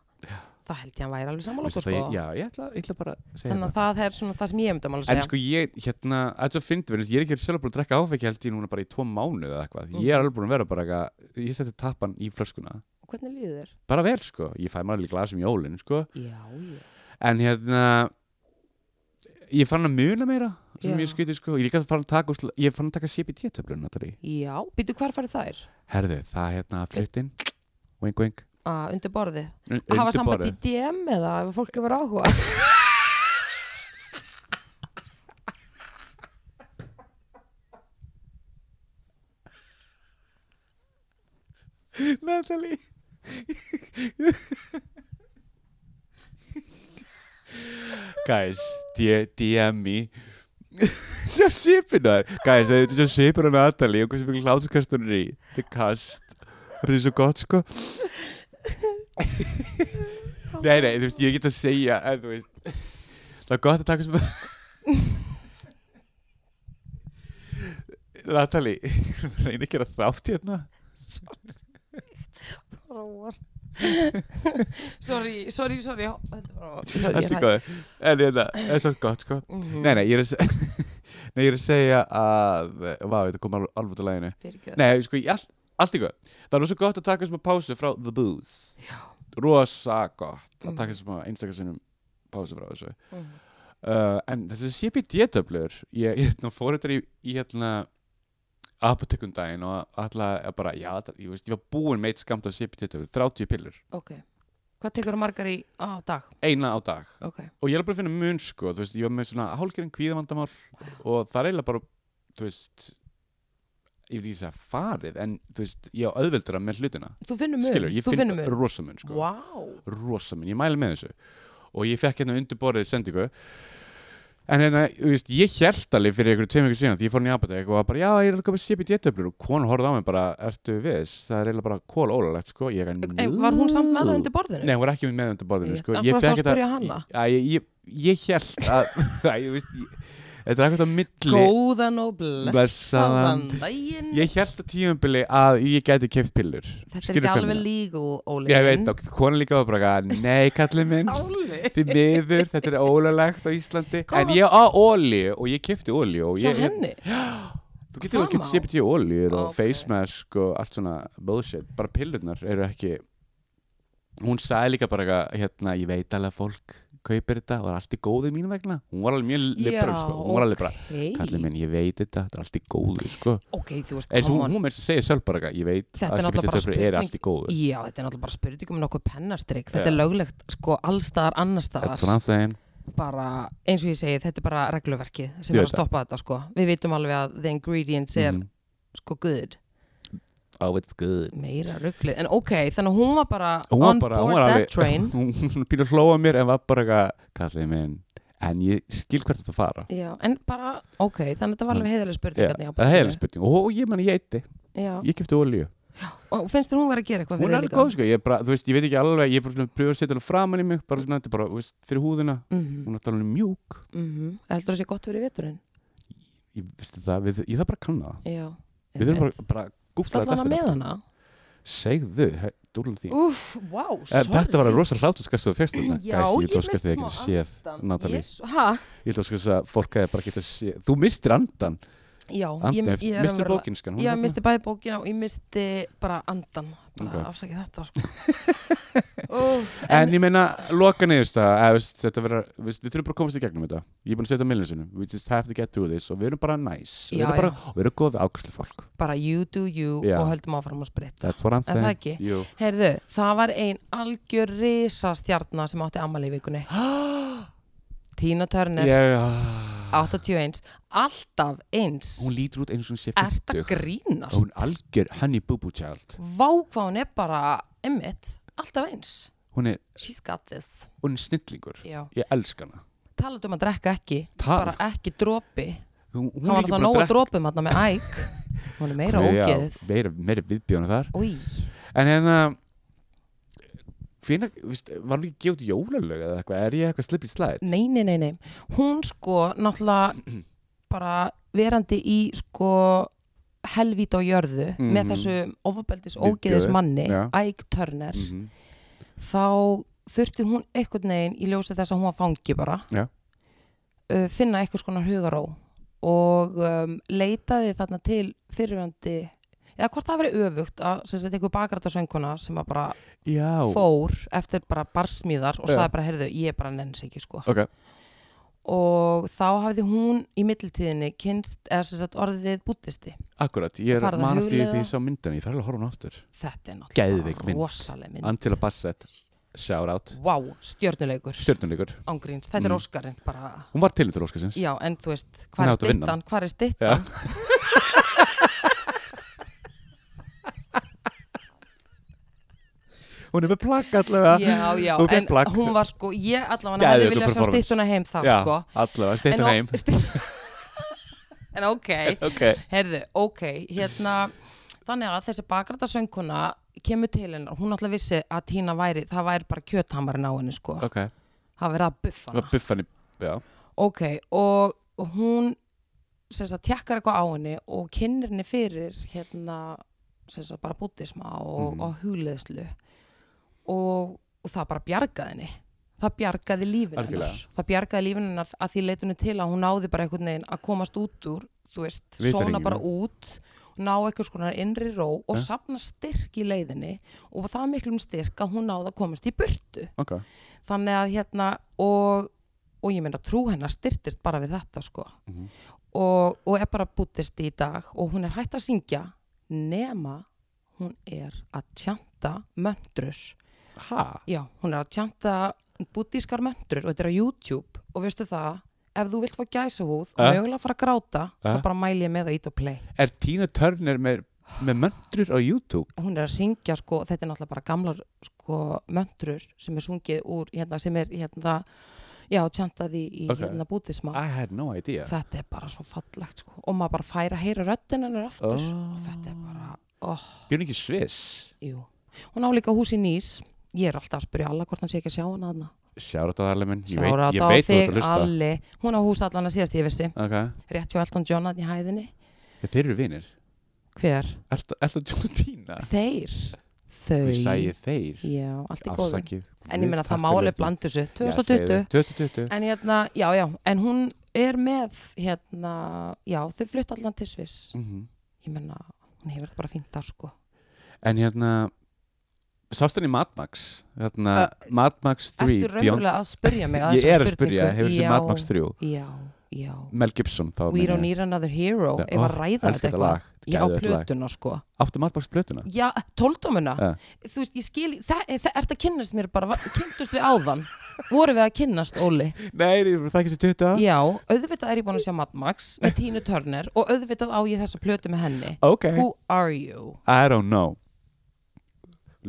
þá held ég að hann væri alveg sammála okkur sko Já, ég ætla, ég ætla bara að segja þannig það að það er svona það sem ég myndum alveg En segja sko ég, hérna, þetta finnst við, ég er ekki sjálf búin að drekka áfengi held ég núna bara í tvo mánuð eða eitthvað Ég Mhm. er alveg búin að vera bara eitthvað, ég seti tappan í flöskuna og hvernig líður þér? Bara vel um sko, ég fæ maður alveg glasum jólin sko já, já, En hérna ég fann að muna meira sem Já. ég skrítið sko, ég líka fann að taka úrsla- ég fann að taka CBT-töflun Natalie, Já, býtu hvar farið þær? herðu, það hérna fluttin, wink wink Að undir borðið. un- Að hafa undir samband í borðið. DM eða ef fólk hefur áhuga. Natalie Guys, D- DM me Sjá svipunar Guys, það er sjá svipur á Natalie og hversu mikið hlátuskast hún er í Þetta er kast Það er svo gott sko Nei, nei, þú veist, ég get að segja en, þú veist, Það er gott að taka sem Natalie, reyna ekki að þátt hérna sorry, sorry, sorry. Hó- Þetta var- sorry, Það ég er er svo góð En þetta, það er svo gott sko hætt. Mhm. Nei, nei, ég er að, se- nei, ég er að segja að Vá, þetta kom alveg, alveg út af læginu Fyrirgefðu. Nei, sko, ég, all, allt í góð Það er rosa gott að taka sem að pásu frá The Booth Já. Rosa gott Mm. að taka sem að einstakar sinnum pásu frá þessu Mhm. uh, En þessi CBD-töflur Ég, ég hérna, fór þetta í, í hérna apotekum daginn og alltaf bara, já, þetta- ég veist, ég var búinn meitt skamt af CBD-töflur, 30 pillur Ok. Hvað tekur margar í á dag? eina á dag Ok. og ég er bara að finna mun sko, þú veist, ég var með svona hálgerinn kvíðavandamál og það er eiginlega bara, þú veist ég vil ekki segja farið en þú veist, ég á auðveldra með hlutina Þú finnur mun. skilur, ég Þú finn finnur mun. rosa mun sko, Wow. rosa mun, ég mæli með þessu og ég fekk hérna undirborðið sendingu en hérna, þú veist, ég hjælt alveg fyrir einhverju tveim ykkur síðan því ég fór hann í apotek og var bara, já, ég er að koma sépi djettöflur og konu horfði á mig bara, ertu viss það er eiginlega bara kól ólulegt, sko ég, Ei, var hún samt með það undir borðinu? Nei, hún var ekki með undir borðinu Ég- sko. Af Ég hverju þá fekk að spyrja þetta- hana? Æ, Ég, ég, ég held að Æ, ég veist, ég, Þetta er eitthvað á milli Góðan og Blessaðan. blessaðan daginn. Ég held að tímabili að ég gæti keft pillur Þetta er Skilur ekki hvað ég alveg meina? legal, Óli. Ég veit þá, konan líka var bara eitthvað, Nei, kallið minn Óli. Því miður, þetta er ólulegt á Íslandi Hvað En var- ég á olíu og ég kefti olíu og Hjá ég, ég- henni? Þú getur Fram alveg á? gett CBT og oljur og Ókei. face mask og allt svona bullshit, bara pillurnar eru ekki hún sagði líka bara eitthvað, hérna, ég veit alveg að fólk kaupir þetta og það er allt í góðu mín vegna hún var alveg mjög liberal sko, hún var alveg bara hey. kallið minn, ég veit þetta, þetta er allt í góðu sko. Ok, þú veist, eins og come hún, on. hún meðs að segja sjálf bara eitthvað, ég veit Þetta er að náttúrulega CBT bara töflur er spurning- allt í góðu Já, þetta er náttúrulega bara spurning um nokkuð pennastrykk. Já. Þetta er löglegt sko allstaðar annarstaðar. That's what I'm saying bara, eins og ég segi, þetta er bara regluverkið sem Ég er veit að stoppa þetta sko. Við vitum alveg að the ingredients er Mhm. sko good, Oh, it's good meira ruglið. En ok, þannig að hún var bara Hún var on bara, hún board var that alveg train. hún býr að hlóa mér en var bara eitthvað, kallið minn en ég skil hvert þetta fara Já, en bara, ok, þannig að þetta var alveg heiðalega spurning. Já, þarna í það er apótekinu. heilig spurning og ég meni ég eitti, Já, ég kipti olíu og finnst þér hún vera að gera eitthvað hún fyrir þig er alveg líka? góð sko, ég, bara, þú veist, ég veit ekki alveg ég er bara svona að pröfa að setja hana framan í mig bara svona, þetta er bara, þú veist, fyrir húðina Mhm, hún er alveg mjúk, mhm. Heldur það sé gott fyrir veturinn? ég veist það við, ég þarf bara að kanna það, Já. við þurfum bara, bara að googla Stallan þetta hana með eftir hana? segðu, he- dúllum því Úff, wow, Eh, sorry. þetta var að rosa hlátuskast og fyrst þetta Já, Gæs, ég ég tóskast missti þig ekki smá séð Natalie, Yes, ha? ég tóskast að fólk hefði bara getað séð, þú mistir andan Já, ég, andan, ég er mistir sko. raunverulega- bókinskan Já, ég misti bæði bókina og ég misti bara andan bara Ok. okay. afsakið þetta sko. Úf, En ég meina, loka niðurst að þetta vera, við, við þurfum bara að komast í gegnum þetta Ég er búin að setja millinu sinum, we just have to get through this og við erum bara nice, við Já, erum bara, og við erum góð við ákvæslu fólk bara you do you Já. og höldum áfram að spritta That's what I'm Er það ekki? saying Jú. Heyrðu, það var ein algjör risastjarnar sem átti ammali í vikunni Tina Turner, Ég, ah, 81 alltaf eins Hún lítur út eins og hún sé Ert að 50 og grínast? hún algjör honey boo boo child Vá hvað hún er bara emmitt, alltaf eins Hún er, She's got this hún er snillingur Já. Ég elska hana Talat um að drekka ekki, Tal- bara ekki dropi Hún, hún Hún var líka alltaf búin nóg að að dropum hann með æg Hún er meira Já, ógeðið Meira, meira viðbjónu þar Új En hérna Hvenær, víst, var hún ekki gefið jólalög eða eitthvað, er ég eitthvað slippið slæð? Nei, nei, nei, nei. Hún sko náttúrulega bara verandi í sko helvíti á jörðu með Mhm. þessu ofubeldis Viðbjóði, ógeðis manni, já. Æg Turner, Mm -hmm. þá þurfti hún einhvern veginn í ljósi þess að hún var fangi bara Já. uh, finna einhvers konar hugaró og um, leitaði þarna til fyrirvandi eða hvort það verið öfugt að sem sagt einhver bakrættasönguna sem að bara Já, fór eftir bara barsmíðar og Já. sagði bara, heyrðu, ég bara nenns ekki sko ok og þá hafði hún í millitíðinni kynst, eða sem sagt orðið búttisti. akkurat, ég Farðu er að mann eftir hugleiða. því ég sá myndina, ég þarf alveg að horfa hún aftur Þetta er náttúrulega Geðveik mynd. rosaleg mynd. Angela Bassett, shout out Vá, wow, stjörnuleikur, stjörnunleikur, ángríns, þetta Mm. er Óskarinn bara. hún var tilindur óskarsins Já, en þú veist, Hún hvað er átti að vinna stittan, hvað er Já. stittan? hún er með plakk allavega Já, já, Hún fékk en plagg. hún var sko, ég allavega Geðveikur hefði viljað sjá performance. stittuna heim þá Já, sko. allavega, En steyttu ó- heim stytt- en ok, ok, herðu, ok, hérna, þannig að þessi bakræta söngkona kemur til hennar, hún alltaf vissi að Tína væri, það væri bara kjöthamarinn á henni sko, ok, það verið að buffa hana. buffan í já, Ok, og hún, sem sagt, tjekkar eitthvað á henni og kynir henni fyrir, hérna, sem sagt, bara búttisma og, Mhm. og hugleðslu og, og það bara bjargaði henni. Það bjargaði lífinu hennar. Algjörlega. Það bjargaði lífinu hennar að því leitunni til að hún náði bara einhvern veginn að komast út úr, þú veist, sóna Vitaringnum. bara út, ná einhvers konar innri ró og Ja. safna styrk í leiðinni og það miklum styrk að hún náði að komast í burtu ok þannig að hérna og, og ég meina trú hennar styrtist bara við þetta sko Mhm. og, og er bara búttist í dag og hún er hægt að syngja nema hún er að tjanta möndrur ha, já, hún er að tjanta búttískar möndrur og þetta er á YouTube og veistu það, ef þú vilt fá gæsahúð og Eh? mögulega fara að gráta Eh? þá bara mæli ég með að ít og play er Tina Turner með, með möndrur á YouTube og hún er að syngja sko, þetta er náttúrulega bara gamlar sko möndrur sem er sungið úr hérna, sem er hérna já, tjantaði í Ok. hérna bútisma I had no idea þetta er bara svo fallegt sko og maður bara fær að heyra röddinn hennar aftur Oh. og þetta er bara, oh, björn ekki sviss jú hún á líka hús í Nýs, ég er alltaf að spyrja alla hvort hann sé ekki að sjá hana hana Sjárat á Arle minn, ég veit, Sjára ég á veit þú þig, ert að hlusta Alli hún á hús allan að síðast ég vissi Ok, rétt hjá Elton John hann í hæðinni þeir eru vinir hver? Ertu John og Tina? þeir, þau Við sæði þeir já, allt í góðu Afsakið en ég meina það má alveg blandu þessu 2020 2020 En hérna, já, já, en hún er með, hérna, já, þau flutt allan til Sviss. Mhm. Ég menna, hún hefur þetta bara fínt þar, sko. En hérna Sást hann í Mad Max hérna, Mad Max 3 Ertu raunverulega að spyrja mig að Ég þessari er að spyrja, spurningu? hefur þessi Já, Mad Max 3 Já, já. Mel Gibson þá We don't need another hero, Það- ef að ó, ræða þetta eitthvað. Já, plötun plötuna, sko. Áttu Mad Max plötuna? Já, tóldómuna. Ja. Þú veist, ég skil, það, eh, það ert að kynnast mér bara, va- kynntust við áðan. Voru við að kynnast, Óli? Nei, það er ekki sér 20 ár Já, auðvitað er ég búin að sjá Mad Max með Tínu Turner og auðvitað á ég þessa plötu með henni. Ok Who are you? I don't know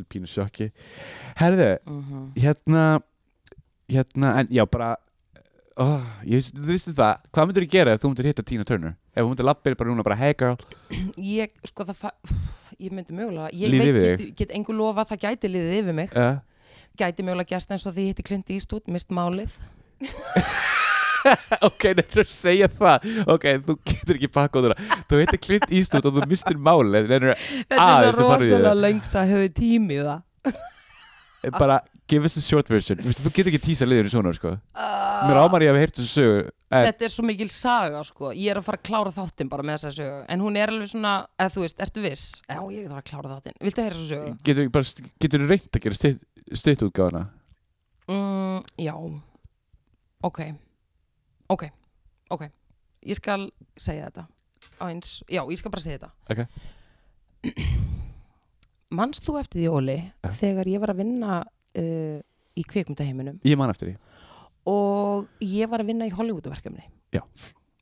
Pínu sjokki Herðu, Mm hérna hérna, en já, bara oh, ég veist, þú vissi það, hvað myndir þú gera ef þú myndir hitta Tina Turner, ef hún myndir lappir bara núna bara, hey girl, ég, sko það fa- ég myndi mögulega, ég Líði yfir veit, get, get engu lofa að það gæti liðið yfir mig, uh, gæti mögulega gæst eins og því ég hitti Clint Eastwood, mist málið ok, nefnir að segja það ok, þú getur ekki pakka á það þú heitir Clint Eastwood og þú mistir málið nefnir þetta Ah, er þessi það farið í rosalega það. lengs að höfðu tími í það að bara, give us a short version Vistu, þú getur ekki tísa liðinu svona, sko uh, mér ámar ég að við heyrtu þessu sögu en, þetta er svo mikil saga sko, ég er að fara að klára þáttinn bara með þessa sögu, en hún er alveg svona eða þú veist, ertu viss? Já, ég er að fara að klára þáttinn, viltu að heyra þessa sögu? getur þú bara, getur þú reynt að gera stutt, stutt útgáfuna Mm, já, ok, ok, ok, ég skal segja þetta, aðeins, já, ég skal bara segja þetta. Ok. Manst þú eftir því, Óli, þegar ég var að vinna uh, í kvikmyndaheiminum ég man eftir því, og ég var að vinna í Hollywoodverkefni, já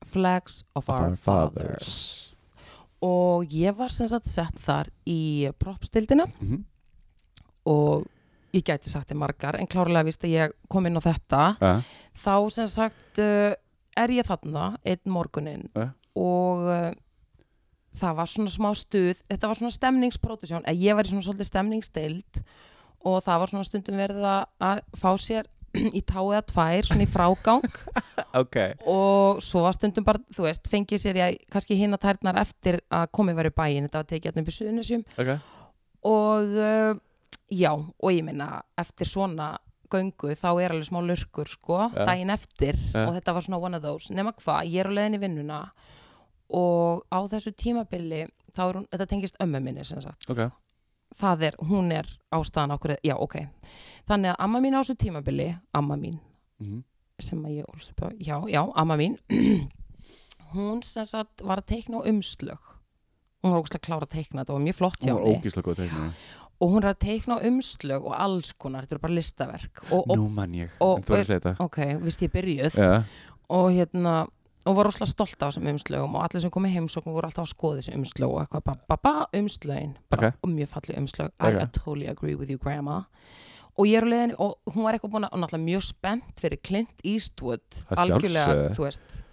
Flags of Our, Fathers. Og ég var sem sagt sett þar í propstildina Mhm. og ég gæti sagt þið margar, en klárlega víst að ég kom inn á þetta Ah, þá sem sagt uh, er ég þarna einn morguninn Ja. og uh, það var svona smá stuð þetta var svona stemningspródusjón eða ég var í svona svolítið stemningsdeild og það var svona stundum verið að- að fá sér í tá eða tvær svona í frágang ok, og svo var stundum bara, þú veist, fengið sér ég kannski hinn að tærnar eftir að komið var í bæin þetta var tekið hérna upp í suðunisjum ok og uh, já, og ég minna eftir svona göngu þá er alveg smá lurkur sko, Ja. daginn eftir Ja. og þetta var svona one of those, nema hvað, ég er á leiðinni í vinnuna og á þessu tímabili þá er hún, þetta tengist ömmu minni sem sagt, ok, það er, hún er ástæðan okkur, já ok þannig að amma mín á þessu tímabili, amma mín Mhm. sem að ég ólst upp á, já, já, amma mín hún sem sagt var að teikna á umslög hún var ógstlega klára að teikna, það var mjög flott hjá hún var henni ógísla góð teiknari og hún er að teikna á umslög og alls konar, þetta eru bara listaverk og, og nú mann ég, og- en þú er að segja þetta ok, vist ég byrjuð ja. og hérna og var rosalega stolt á þessum umslögum og allir sem komið heimsóknum voru alltaf að skoða þessu umslög og eitthvað, ba, ba, ba, umslögin bara, Ok. og mjög fallið umslög, Ok. I, I totally agree with you grandma og ég er á leiðinni og hún var eitthvað búin að, og náttúrulega mjög spennt fyrir Clint Eastwood Að algjörlega, sjálfsögðu. þú veist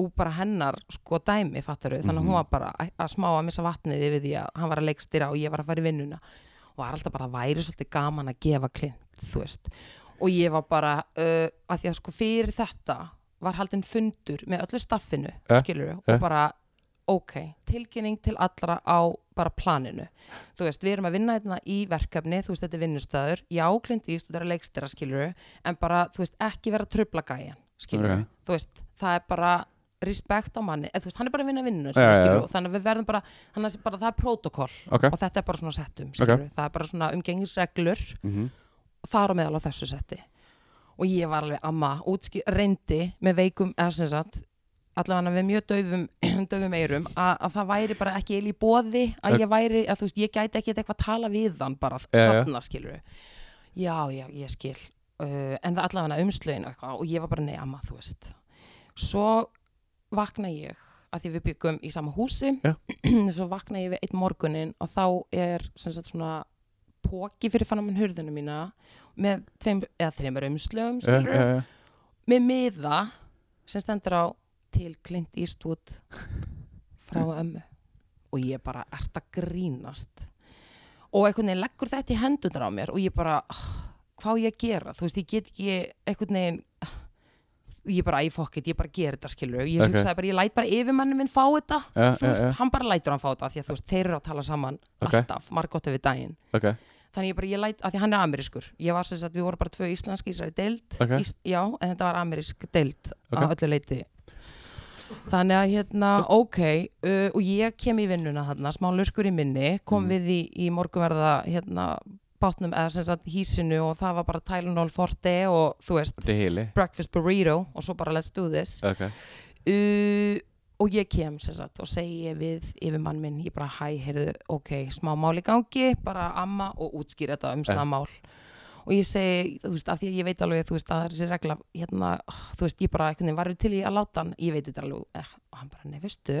og bara hennar sko dæmi fattaru þannig að hún Mhm. var bara að- að smá að missa vatnið yfir því að hann var að leikstýra og ég var að fara í vinnuna og var alltaf bara að væri svolítið gaman að gefa Clint, þú veist og ég var bara, uh, að því að sko fyrir þetta var haldin fundur með öllu staffinu, Eh, skilur eh. og bara, ok, tilkynning til allra á bara planinu þú veist, við erum að vinna hérna í verkefni þú veist, þetta er vinnustæður, já, Clint Eastwood er að leikstýra, skilur en bara, þú veist, ekki vera að tröfla gæjan, skilur Ok. þú veist, það er bara respekt á manni, eða þú veist, hann er bara að vinna vinnuna Já, sína, já, skilur, já. og þannig að við verðum bara þannig að bara, það er protokoll ok og þetta er bara svona settum, skilur það er bara svona umgengisreglur Mhm. þar á meðal á þessu setti og ég var alveg amma, útski, reyndi með veikum, eða sem sagt allavega með mjög daufum, daufum eirum að, að það væri bara ekki eil í bóði að Ok. ég væri, að þú veist, ég gæti ekki eitthvað að tala við hann bara, Já, já. þarna skilur já, já, ég skil uh, en það allavega umslögin og eitthvað og ég var bara, nei, amma, þú veist svo vakna ég að því við byggum í sama húsi Já. svo vakna ég við eitt morgunin og þá er sem sagt svona póki fyrir fann mann hurðinu mína með tveim, eða þreymur umslögum Ja, skilur, ja, ja. með miða sem stendur á til Clint Eastwood frá Mm. ömmu og ég bara ert að grínast og einhvern veginn leggur þetta í hendunar á mér og ég bara "Ah, hvað á ég að gera, þú veist ég get ekki einhvern veginn ah, ég bara æ fokkit, ég bara ger þetta skilur ég Ok. okay. bara, ég læt bara yfirmannin minn fá þetta Ja, þú ja, veist, ja. hann bara lætur hann fá þetta af því að þú veist, þeir eru að tala saman Ok. alltaf, margótt yfir daginn ok, þannig ég bara, ég læt, að því hann er amerískur ég var sem sagt, við vorum bara tvö íslensk í þessari deild Ok. Ís, já, en þetta var amerísk deild Ok. að öllu leiti þannig að hérna, ok uh, og ég kem í vinnuna þarna, smá lurkur í minni kom Mhm. við í, í morgunverða hérna, bátnum, eða sem sagt hísinu og það var bara Tylenol Forte og þú veist, þetta er heili breakfast burrito og svo bara let's do this ok, uh, og ég kem sem sagt og segi ég við yfir mann minn ég bara hæ, heyrðu, ok, smá mál í gangi bara amma og útskýra þetta umslaða mál og ég segi, þú veist, af því að ég veit alveg þú veist, að það er þessi regla hérna, ah, þú veist, ég bara, einhvern veginn varður til í að láta hann ég veit þetta alveg, eh, og hann bara, nei, veistu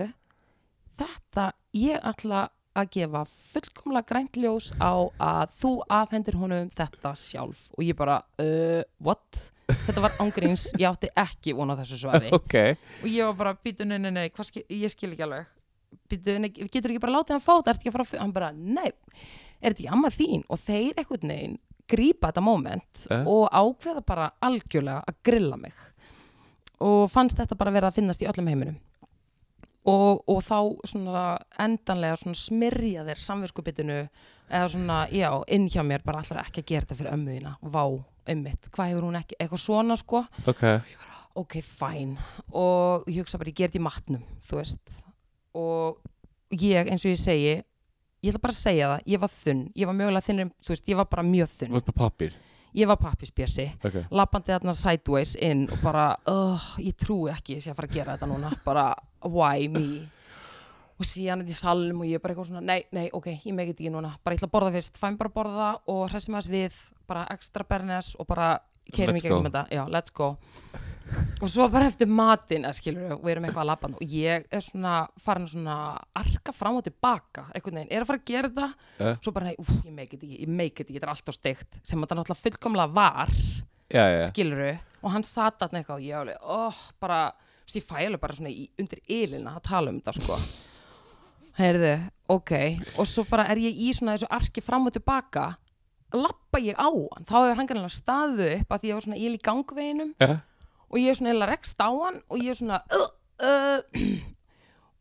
þetta, ég ætla að gefa fullkomlega grænt ljós á að þú afhendir honum þetta sjálf og ég bara, uh, what? Þetta var ángríns, ég átti ekki vona þessu svari ok og ég var bara, býtu, nei, nei, nei, hvað skil, ég skil ekki alveg býtu, nei, getur ekki bara látið hann fá það ert ekki að fara að, fu- hann bara, nei er þetta ekki amma þín og þeir eitthvað negin grípa þetta moment Eh? og ákveða bara algjörlega að grilla mig og fannst þetta bara verið að finnast í öllum heiminum og, og þá svona endanlega svona smyrja þeir samverskupitinu eða svona, já, inn hjá mér bara allra ekki að gera þetta fyrir ömmuðina vá, ömmit, hvað hefur hún ekki, eitthvað svona sko ok, ok, fæn og ég hugsa bara, ég ger þetta í matnum þú veist og ég, eins og ég segi ég ætla bara að segja það, ég var þunn ég var mögulega þunn, þú veist, ég var bara mjög þú þunn varst bara pappir ég var pappisbjössi ok, lappandi þarna sideways inn og bara, oh, ég trúi ekki að ég sé að fara að gera þetta núna bara, why me og síðan er þetta í salm og ég er bara eitthvað svona nei, nei, ok, ég megið ekki núna bara ég ætla að borða fyrst, fæm bara að borða og hressi með þess við bara ekstra bernes og bara keirum í Let's gegnum go. þetta, já, let's go og svo bara eftir matinn að skilur við, við erum eitthvað að labba þarna og ég er svona farin að svona arka fram og tilbaka, einhvern veginn, er að fara að gera þetta Eh. svo bara, nei, úf, ég megið ekki, ég megið ekki þetta er alltaf steikt, sem þetta náttúrulega fullkomlega var já, já, já. skiluru og hann satt þarna eitthvað og ég alveg, oh, bara þú veist, ég fæ alveg bara svona í, undir ylina að tala um þetta sko heyrðu, ok og svo bara er ég í svona þessu arki fram og tilbaka lappa ég á hann þá hefur hann kannilega staðu upp að því ég var svona íl í gangveginum já, og ég er svona eða rekst á hann og ég er svona uh, uh,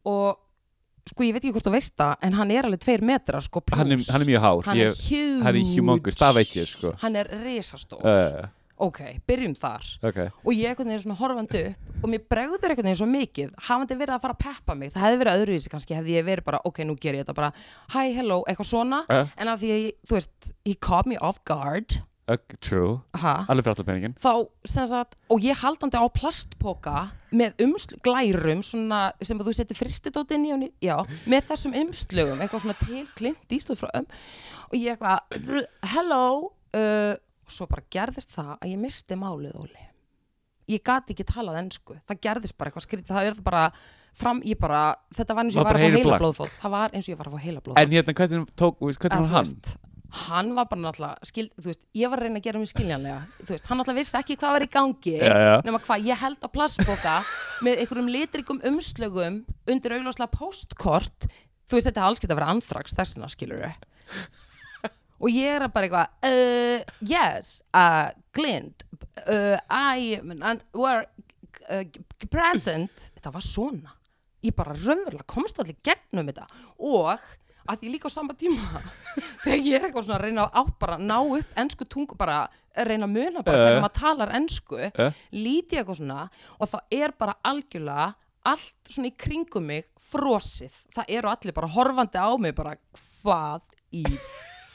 og sko ég veit ekki hvort þú veist það en hann er alveg tveir metra sko plus. hann er, hann er mjög hár hann er ég, huge hann er humongous, það veit ég sko hann er risastór uh, ok, byrjum þar ok, og ég einhvern veginn svona horfandi upp og mér bregður einhvern veginn svo mikið hafandi verið að fara að peppa mig, það hefði verið öðruvísi kannski hefði ég verið bara, ok, nú ger ég þetta bara hæ, hello, eitthvað svona, Eh. en af því að ég, þú veist, he caught me off guard Ugg, true, ha? alveg fyrir allar peningin þá sem sagt, og ég haldandi á plastpoka með umsl, glærum svona, sem að þú setir fristidótt inn í hún já, með þessum umslögum eitthvað svona tilklint ístöð frá um og ég eitthvað, rr, hello uh, svo bara gerðist það að ég misti málið, Óli ég gati ekki talað ensku, það gerðist bara eitthvað skrítið, það er það bara fram, ég bara, þetta var eins og ég Var var bara að fá heilablóð. heila blóðfótt það var eins og ég var að fá heila En hérna, hvernig tók, þú veist, hvernig Eða, var þú hann? veist, hann var bara náttúrulega skil, þú veist, ég var að reyna að gera mig skiljanlega þú veist, hann náttúrulega vissi ekki hvað var í gangi Já, já. nema hvað, ég held á plastboka með einhverjum litrikum umslögum undir augljóslega postkort þú veist, þetta er alls geta að vera anþrags þessina skilur og ég er bara eitthvað uh, yes, uh, Glind uh, I and were uh, present þetta var svona ég bara raunverulega komst allir gegnum þetta og að því líka á sama tíma þegar ég er eitthvað svona að reyna að á bara ná upp ensku tungu bara reyna að muna bara Eh. hvernig maður talar ensku Eh. líti eitthvað svona og það er bara algjörlega allt svona í kringum mig frosið það eru allir bara horfandi á mig bara hvað í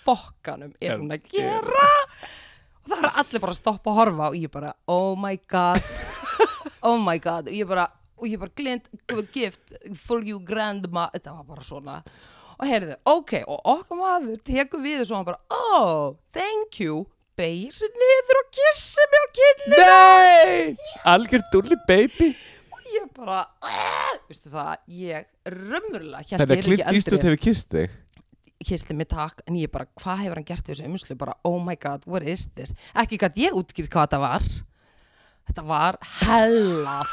fokkanum er hún að gera og það eru allir bara að stoppa að horfa og ég bara oh my god oh my god og ég bara, og ég bara glind gift for you grandma þetta var bara svona og heyrðu, ok, og okkar maður tekur við þessu og hann bara, oh, thank you beigir sér niður og kissi mig á kynni Nei! Algjör dulli baby og ég bara, "Ah!" veistu það ég raunverulega hélt ég Þetta er Clint ekki Eastwood eldri hefur kist þig kissli mig takk, en ég bara, hvað hefur hann gert við þessu umslu, bara, oh my god, what is this ekki gætt ég útskýrt hvað þetta var þetta var hella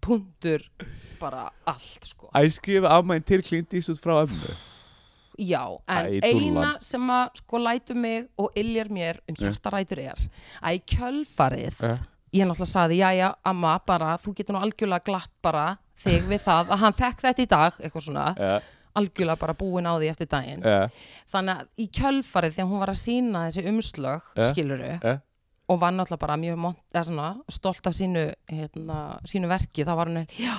pundur bara allt sko Að ég skrifa afmæn til Clint Eastwood frá ömmu Já, en Æ, eina dúllan. sem að sko lætur mig og illjar mér um hjartarætur er að í kjölfarið Eh. ég náttúrulega saði, já, já, amma, bara þú getur nú algjörlega glatt bara þig við það að hann fekk þetta í dag, eitthvað svona Já, algjörlega bara búin á því eftir daginn já, þannig að í kjölfarið þegar hún var að sína þessi umslög, Eh. skiluru já og var náttúrulega bara mjög mont, eða svona, stolt af sínu, hérna, sínu verki þá var hún einn, já,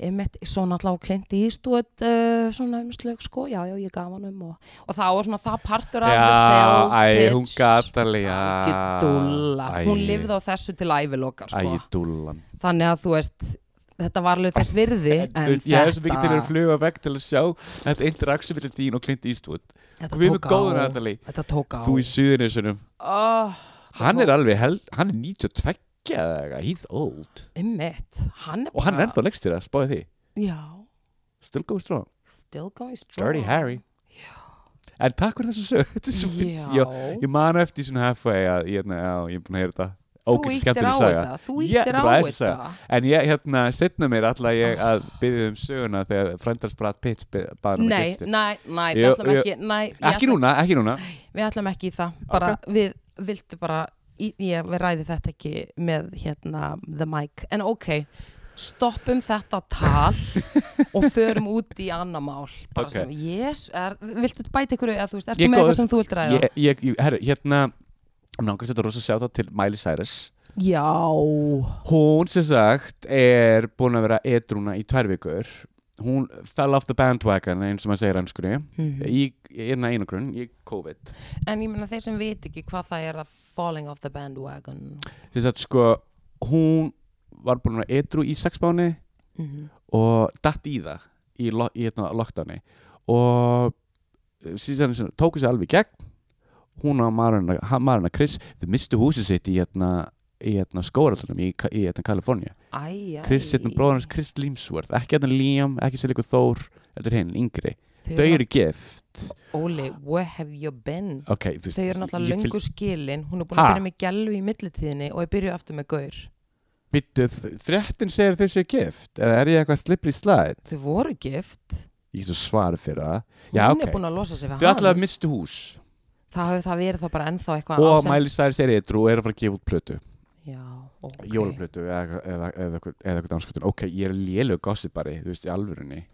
einmitt svo náttúrulega klindi í stúð uh, svona umslög sko, já, já, ég gaf hann um og, og þá var svona það partur af Já, the sales æ, pitch. hún gat alveg, já. Algjör dúlla. Æ. hún lifði á þessu til ævilokar Æ, sko. dúllan þannig að þú veist þetta var alveg þess virði en, Þú veist, Ég hef svo mikið til að þetta, fluga vekk til að sjá Þetta interaksu fyrir þín og Clint Eastwood þetta Við erum tók góður á aðalegi þetta tók á Þú í suðunisunum oh, Hann er alveg, held, hann er 92 eða eitthvað, He's old einmitt, hann er Og hann er ennþá leggst þér að spáði því já, Still going strong still going strong Dirty Harry En takk fyrir þessu sög Þetta er svo fínt já, Já, Ég man eftir í svona halfway að ég, na, já, ég er búin að heyra þetta þú Ógeðslega íttir á skemmtileg saga. þetta þú Ég- íttir þetta á var þessi þetta En ég, hérna, setna mér alltaf ég að byggja um söguna þegar frændars Brad Pitt baður um að nei, gifstir. nei, nei, við Jú, ætlum jú. ekki nei, ég Ekki ætla- núna, ekki núna. við ætlum ekki í það, bara við viltu bara, í- ég við ræði þetta ekki með hérna the mic, en ok stoppum þetta tal og förum út í annar mál bara Ok. sem, yes, er, viltu bæta ykkur eða þú veist, Ég ertu með góður. eitthvað sem þú vilt ræða Ég, ég, ég- herru, hérna, mér langast þetta rosa sjáta til Miley Cyrus. já, Hún sem sagt er búin að vera edruna í tvær vikur. Hún fell off the bandwagon eins og maður segir ennskunni. Mhm. Í, hérna einagrun, í COVID. en ég meina þeir sem veit ekki hvað það er að falling off the bandwagon Sem sagt, sko, hún var búin að vera edru í sex mánuði mm og datt í það í, lo í hérna, lockdowni og eh, síðan sem tóku sér alveg í gegn hún og Marina, ha- Marina Chris þau mistu húsið sitt í, hérna, í hérna, skóraðlunum í, Ka- í hérna, Kaliforníu Æj, æj. Chris, hérna, bróður hans Chris Limsworth ekki hérna Liam, ekki sér líka Þór þetta er hinn, yngri, þau eru gift Óli, where have you been? ok, þú veist Þau eru náttúrulega ég löngu skilin, hún er búin að Ha? byrja með gælu í millitíðinni og ég byrju aftur með gaur. fylgbyttu þrettin segir þau séu gift eða er ég eitthvað slippery slide Þau voru gift, ég getur svarið fyrir það hún Já, er ok. búin að losa sig þau við hann. allavega mistu hús Það hafi það verið þá bara ennþá eitthvað á og sem- Miley Cyrus er eitthvað og er að fara að gefa út plötu Já, ok. okay. jólaplötu eða, eða, eða, eða eitthvað danskutun ok, ég er lélug gossipari, þú veist, í alvörunni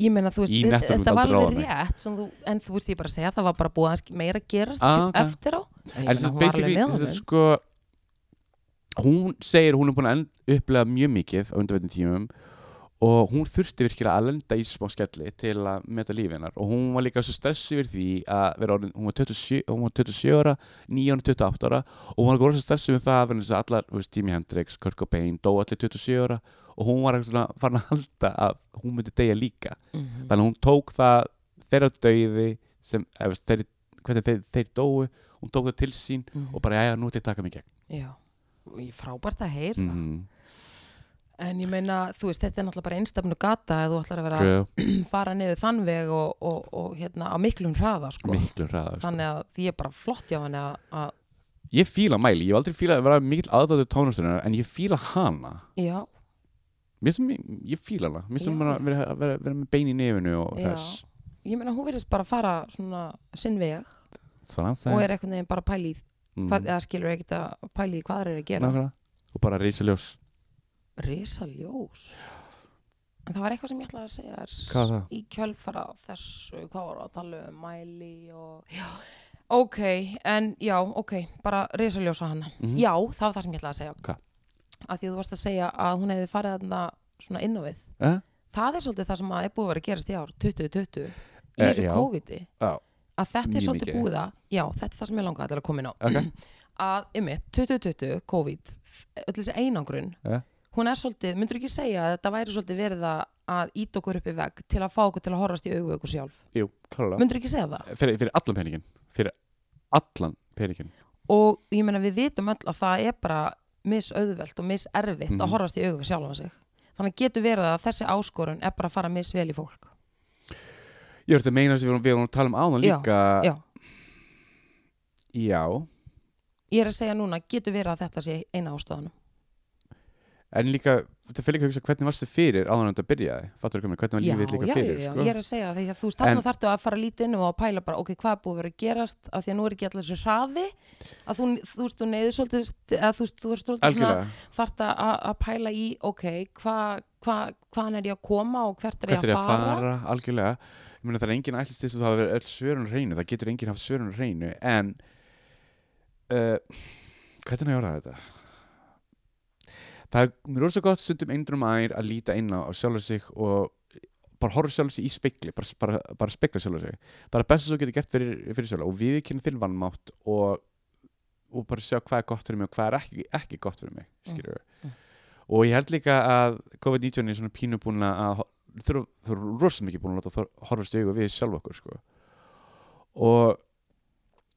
Ég meina, þú veist, Í þi- nettunum þetta myndi var aldrei alveg ráða mig. rétt, sem þú, en þú veist, ég er bara að segja, það var bara búið að sk- meira gerast Ah, ah, ok. eftir á. En ég meina, en þess hún að var alveg basically, með þess að honum. sko hún segir, hún er búin að end- upplega mjög mikið á undarveitin tímum og hún þurfti virkilega að lenda í smá skelli til að meta lífi hennar og hún var líka svo stressu yfir því að vera orðin, hún var 27, hún var 27 ára 9 ára, 28 ára og hún var líka orðin svo stressu yfir það vegna þess að allar, þú veist, Jimi Hendrix, Kurt Cobain dó allir 27 ára og hún var eitthvað svona farin að halda að hún myndi deyja líka Mhm. þannig að hún tók það þeirra dauði sem, eða veist, þeir, hvernig þeir, þeir dóu hún tók það til sín Mhm. og bara, já, já, nú ætla ég að taka mig í gegn Já, Í- frábært að heyra mm, en ég meina, þú veist, þetta er náttúrulega bara einstafnu gata eða þú ætlar að vera true, að fara niður þann veg og, og, og hérna á miklum hraða sko. miklu hraða sko. þannig að því er bara flott hjá henni að, að ég fíla mæli, ég hef aldrei fíla að vera mikill aðdáttur tónlistunar en ég fíla hana já, mér sem, ég fíla hana, mér sem Já. bara vera, vera, vera með bein í nefinu og Já. þess ég meina hún verðist bara að fara svona sinn veg svona og það er eitthvað neginn bara að pæli í mm, hvað, eða skilur ekkert að pæli í hvað þeir eru að gera nákvæmlega. og bara reysiljós Risa ljós En það var eitthvað sem ég ætlaði að segja þér Hvað var það? Í kjölfara þessu, hvað voru að tala um mæli og já, Ok, en já, ok bara risa ljósa hana Mhm. Já, það var það sem ég ætlaði að segja Hvað? Að því að þú varst að segja að hún hefði farið þarna svona inn á við Eh? Það er svolítið það sem að er búið að vera að gerast í ár 2020, í Eh, þessu já. COVID-i Já. að þetta er Mjög svolítið mikið. búið að Já, þetta er það sem ég langaði til að koma inn á okay. að, ymmið, 2020, COVID öll þessi einangrun Ja. hún er svolítið, myndur ekki segja að þetta væri svolítið verið að- að ít okkur upp í vegg til að fá okkur til að horfast í augu okkur sjálf Jú, klálega myndur ekki segja það fyrir, fyrir allan peningin fyrir allan peningin og ég meina við vitum öll að það er bara misauðvelt og miserfitt Mhm. að horfast í augu við sjálfan sig þannig getur verið að þessi áskorun er bara að fara misvel í fólk ég verður að meina þess að við vorum- við vorum að tala um áðan Já, líka já. já, ég er að segja núna, getur verið að þetta sé eina ástöðanum en líka þetta fyrir líka að hugsa hvernig varstu fyrir áðan en þetta byrjaði fattur ekki mér, hvernig var lífið líka fyrir sko? ég er að segja því að þú veist, En- þannig þarftu að fara lítið inn og að pæla bara, ok, hvað er búið að vera að gerast af því að nú er ekki allir þessu hraði að þú, þú veist, þú neyður svolítið st- eða þú veist, þú veist, svolítið svona, algjörlega, þarft að, að pæla í, ok, hvað hva, hvaðan er ég að koma og hvert er hvert er ég ég að fara algjörlega, ég meina það er enginn ætlist þess að það hafa verið öll svörun hreinu, það getur enginn haft svörun hreinu, en uh, hvernig að gjóra þetta það er, mér er svo gott stundum eindrum um ær að líta inn á, á sjálfur sig og bara horfa sjálfur sig í spekli bara, bara, bara spekla sjálfur sig það er að besta sem þú getur gert fyrir, fyrir sjálfur og við kynna þinn vannmátt og, og bara sjá hvað er gott fyrir mig og hvað er ekki, ekki gott fyrir mig skilur Mm, og ég held líka að COVID-19 er svona pínu búin að ho- þurfa þurfa rosa mikið búin að láta þor- horfast í augu við sjálf okkur sko. og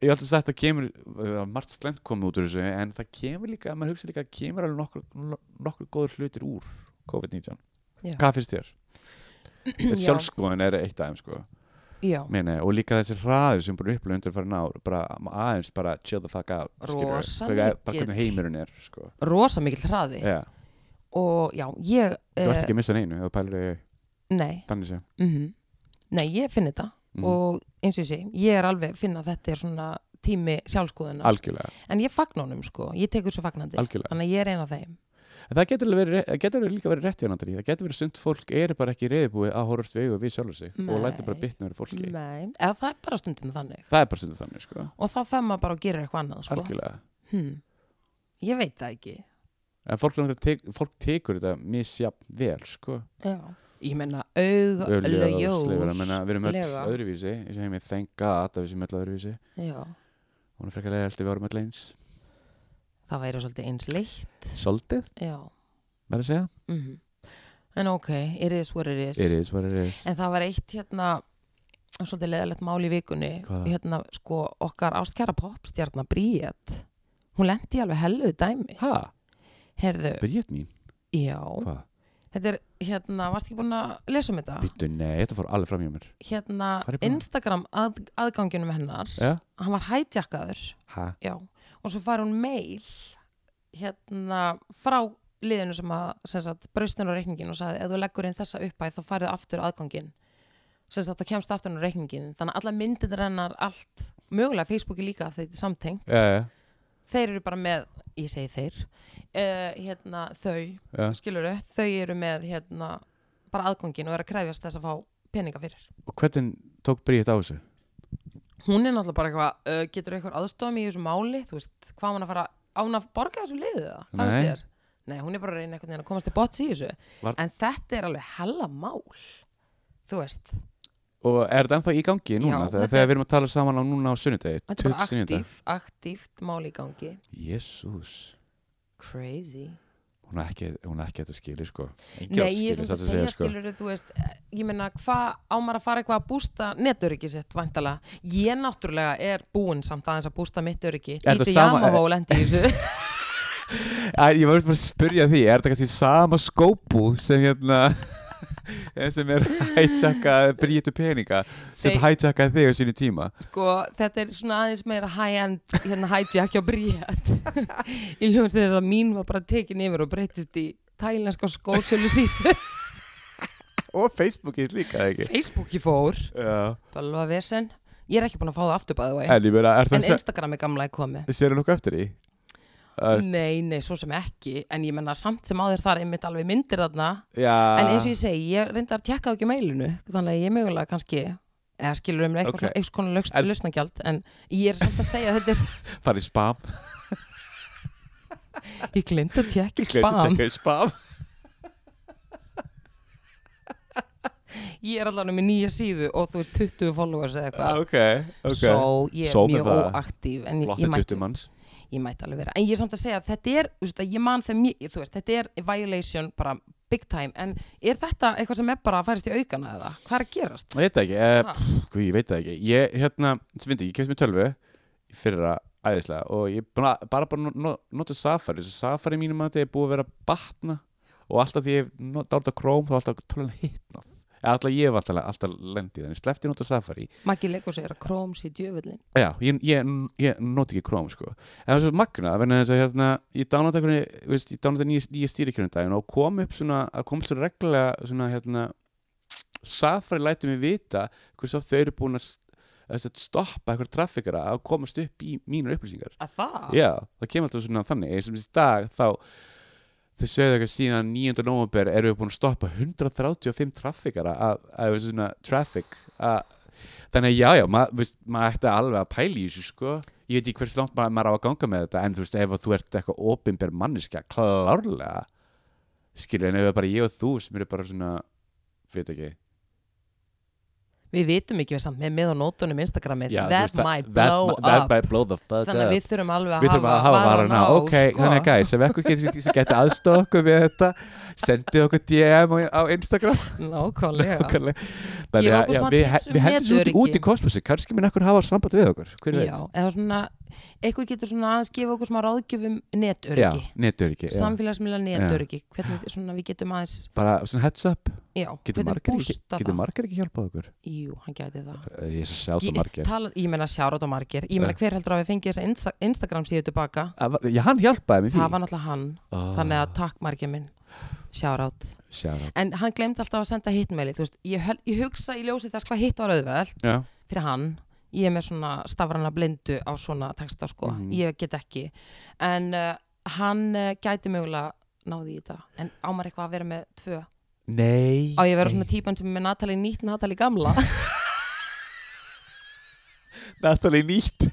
ég held að sagt að kemur uh, margt slemt komið út úr þessu en það kemur líka, maður hugsa líka að kemur alveg nokkur, no- nokkur góður hlutir úr COVID-19 Já. hvað finnst þér? Já. sjálfskoðin er eitt aðeim sko. Já, Meina, og líka þessi hraður sem bara upplega undir farin ár bara aðeins bara chill the fuck out skilurðu. Rosa bara bara mikill. hvernig heimurinn er sko. rosa mikil hraði yeah. og já, ég þú ert eh, ekki að missa neinu ef þú pælir í- nei, þannig sé mm nei, ég finn þetta Mhm. og eins og ég sé, ég er alveg finna að þetta er svona tími sjálfskoðunar algjörlega, en ég fagna honum sko, ég tekur svo fagnandi algjörlega. þannig að ég er eina af þeim En það getur, alveg verið, það getur alveg líka verið rétt hjá Andri það getur verið sund fólk er bara ekki reyðbúið að horfast við og við sjálfur sig Nei. og læta bara bitna verið fólki Nei, eða það er bara stundum þannig það er bara stundu þannig sko, og þá fer maður bara og gerir eitthvað annað sko. algjörlega hmm. ég veit það ekki en fólk, langar að tek, fólk tekur þetta misjafn vel sko Já. ég menna aug, ljós Augljóslega, ég meina, við erum öll lega. öðruvísi eins og heimi thank god að við séum öll öðruvísi Já. hún er frekar leiðalt við vorum öll eins það væri svolítið einsleitt svolítið, Já. verður að segja mhm. en ok, it is what it is Iris, var Iris en það var eitt hérna svolítið leðalegt mál í vikunni Hvað? hérna sko okkar ástkjara popstjarnar Bríett hún lendi alveg helluð dæmi ha, herðu, Bríett mín, já hvað, þetta er hérna, varst ekki búin að lesa um þetta? byttu, nei, þetta fór alveg fram hjá mér hérna Hvar er búin? Instagram að, aðganginum hennar já, hann var hætjakkaður ha, já. og svo fær hún mail hérna frá liðinu sem að sem sagt, braustin á reikningin og sagði ef þú leggur inn þessa uppæð þá færðu aftur aðgangin sem sagt þá kemst aftur inn á reikningin þannig að alla myndir hennar allt mögulega Facebooki líka af því þetta er samteng já, já, þeir eru bara með, ég segi þeir uh, hérna þau já. skilur þau eru með hérna bara aðgangin og eru að krefjast þess að fá peninga fyrir og hvernig tók Bríett á þessu hún er náttúrulega bara eitthvað uh, getur eitthvað aðstofum í þessu máli þú veist, hvað á hann að fara án að borga þessu liðu það, hvað Nei. veist þér Nei, hún er bara að reyna einhvern veginn að komast til bots í þessu Var- En þetta er alveg hella mál Þú veist, og er þetta ennþá í gangi núna Já, þegar, þetta- þegar við erum að tala saman á núna á sunnudegi þetta er bara 29. aktíf, aktíft mál í gangi Jésús Crazy hún er ekki, hún er ekki þetta skili sko Enginn á Nei, ég er skilið, sem satt sko. að segja skilur þú veist, eh, ég meina hvað á maður að fara eitthvað að bústa netöryggi sitt vantala, ég náttúrulega er búinn samt aðeins að bústa mitt öryggi Er þetta Íti sama- Yamaha lendi í þessu Æ, ég var veist bara að spyrja því, er þetta kannski sama skópúð sem hérna sem er hættjakaði Bríetu peninga sem Þeir- hættjakaði þig á sínu tíma sko, þetta er svona aðeins meira high-end hérna hijack hjá Bríett í hljóðast þess að mín var bara tekin yfir og breytist í tælenska skósölu síðu og Facebookið líka ekki Facebooki fór, Já. bálva vesen ég er ekki búin að fá það aftur bæðu vei en ég meina, er en það Instagram er gamla í komi sér nokkuð eftir því uh, nei, nei, svo sem ekki en ég menna samt sem áður þar einmitt alveg myndir þarna já, en eins og ég segi, ég reyndar að tjekka á ekki meilinu þannig að ég mögulega kannski eða skilur um eitthvað Ok. okay. svona, eitthvað svona lausn- En- lausnagjald en ég er samt að segja að þetta farið í spam er ég glind að tjekka í Gleymt að spam checka í spam ég er allavega með nýja síðu og þú veist 20 followers eða eitthvað Ah, ok, ok svo ég er Svo með mjög það. óaktív en ég, Flotti ég, mætti, 20 manns ég mætti alveg vera en ég er samt að segja að þetta er þú veist, að ég man þeim, ég, þú veist, þetta er violation bara big time en er þetta eitthvað sem er bara að færast í aukana eða hvað er að gerast? Ég veit það ekki, eh, Ha. pff, guð, ég veit það ekki Ég, hérna, svindi, ég kemst með tölvu fyrir að æðislega og ég bara bara, bara no- no- notið Safari þess að Safari mínum að þetta er búið að vera að batna og alltaf því ég dált að Chrome þá er alltaf tölvan hitnað eða alltaf ég var alltaf, alltaf lendið þannig slefti nota Safari Maggi leikur segir að Chrome sé djöfullin Já, ég, ég, ég noti ekki Chrome sko. en það er svo magna vegna þess að hérna, ég dánáta einhvernig, veist, ég dánáta nýja, nýja stýrikjörnum daginn og kom upp svona, að kom upp svona reglulega svona hérna Safari læti mig vita hversu oft þau eru búin að, s- að sem sagt stoppa eitthvað traffíkara að komast upp í mínar upplýsingar að það? Já, það kemur alltaf svona þannig eins og þessi dag þá þau sögðu eitthvað síðan 9. november eru við búin að stoppa 135 traffíkara að, að, að svona traffic að, þannig að já, já, maður veist, maður ætti alveg að pæla í þessu sko ég veit ekki hversu langt maður, maður á að ganga með þetta en þú veist, ef þú ert eitthvað opinber manniska klárlega skilur en ef það er bara ég og þú sem eru bara svona veit ekki Við vitum ekki við samt með með á nótunum Instagramið já, þú That veist, það- might that, blow mi- that up might blow the fuck Þannig up að við þurfum alveg að við þurfum að hafa hafa varana á, sko. ok, þannig að guys, ef ekkur getur sem getur aðstofa okkur við þetta sendið okkur DM á, á Instagram Nákvæmlega nákvæmlega. þannig Gefa að okkur já, smá við, tips he- um við hendum svo út, netöryggi. út í kosmosi kannski minn ekkur hafa samband við okkur hver Já, eða svona eitthvað getur svona aðeins gefa okkur smá ráðgjöfum veit já, netöryggi netöryggi já. Samfélagsmiðla netöryggi Hvernig svona við getum aðeins bara svona heads up, Já, getur hvernig margar ekki, bústa getur það margar ekki hjálpað okkur Jú, hann gæti það ég er svo sjálf Ég, það margar tala, ég meina sjárat á margir Ég meina Já. hver heldur að við fengið þessa Insta Instagram síðu tilbaka Að var- já, hann hjálpaði mér Það var náttúrulega hann oh, Þannig að takk margir minn Sjárat sjálf en hann glemdi alltaf að senda hitmeili þú veist, ég, höl, ég hugsa í ljósi þess hvað hitt var auðveld já, fyrir hann, ég er með svona stafrana blindu á svona texta sko Mhm. ég get ekki en uh, hann uh, gæti mögulega náði í þetta, en ámar eitthvað að vera með tvö nei á ég að vera svona típan sem er með Natalie nýtt Natalie gamla Natalie nýtt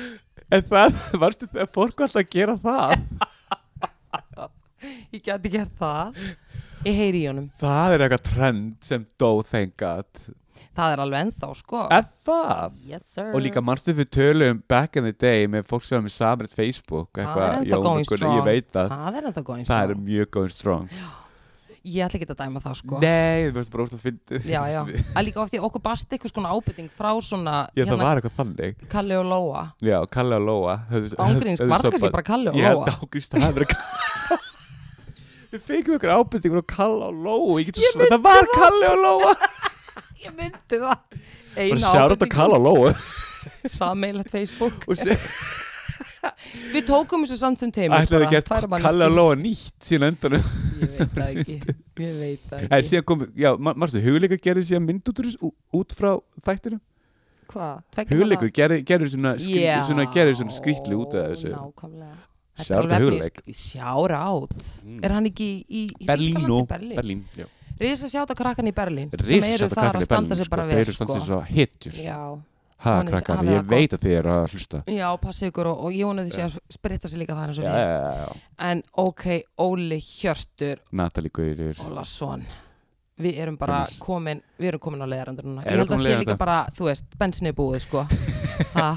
en það, varstu þegar fólk var alltaf að gera það ég gæti gert það ég heyri í honum, Það er eitthvað trend sem dó þengat það er alveg ennþá sko Er það? yes sir Og líka mannstu fyrir tölum back in the day með fólk sem var með samrætt Facebook Það er eitthvað, ennþá Jón og going Gunnar, Ég strong. veit það það er ennþá góðins Það er mjög going strong ég ætla ekki að dæma það sko Nei, þú veist bara úrst að fyndið já, já. að líka af því að okkur bast eitthvað svona ábytting frá svona hérna Já, það var eitthvað þannig Kalli og Lóa Já, Kalle og Lóa höfðu- Ángríns, höfðu var það samband. kannski bara Kalli og Ég held Lóa að ángríns það hafi verið Kalle Við fengum ykkur ábyrtingur og Kalle og Lóa Ég get svo svo, það var Kalle og Lóa Ég myndi það Bara sjára þetta Kalle og Lóa Sameilegt Facebook Og sé- Við tókum þessu samt sem teimur Ætlaðu gert Kalle og Lóa nýtt síðan á endanum Ég veit það ekki Ég veit það En ekki síðan kom, já, ma- marstu, hugleikur gerði síðan mynd út, úr þessu- ú- út frá þættinum Hérna? Hvað? Tveggja Hugleikur gerði, gerði svona, skrí, mánaða? svona, gerði svona skrítli út af þessu Já, nákvæmlega Þetta Shout er alveg out to efni í Hugleik. sk- Shout out Er hann ekki í, í Berlín og Berlín. Berlín. Mm. Berlín já. Risa sjáta krakkan í Berlín Sem Risa eru satt að þar krakkan að standa í Berlín sko. sig bara Þeir vel eru standið sko. svo hitjur Já ha, Vonandi krakkar, hafið ég það veit að þið eru að hlusta Já, passi ykkur og, og ég vona því sé að spritta sig líka þannig já, sem já, við. já, já. En ok, Óli Hjörtur Natalie Guður Ólason Við erum bara Gömul. komin, við erum komin á leiðarandur núna. Erum Ég held að komin á sé líka leiðarenda. bara, þú veist, bensinni er búið sko. ha,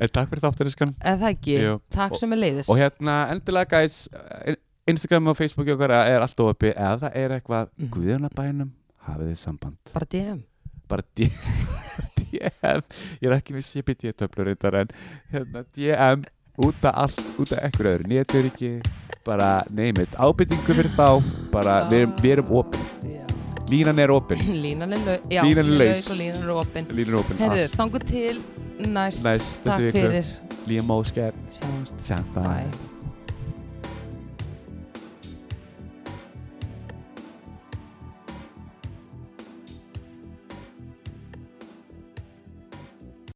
en takk fyrir þáttariskan eða það ekki, Jú. takk sem er leiðis. og hérna endilega guys eh, Instagram og Facebooki okkar eh, er alltaf opið eða það er eitthvað Mhm. Guðunabænum hafið þið samband Bara DM. bara DM DM, ég er ekki viss ég byrja ég töflur reyndar en hérna DM út af allt, út af ekkur öðru nétöryggi, bara neymit ábyrtingu fyrir þá, bara við erum, við erum opið, línan er opið Línan er laus. Já, Línan er laus laus. og línan er opinn. línan er opið, Herðu, þangu til næst. næst Takk fyrir. Líam Óskar, Sjáumst. sjáumst bæ Bye.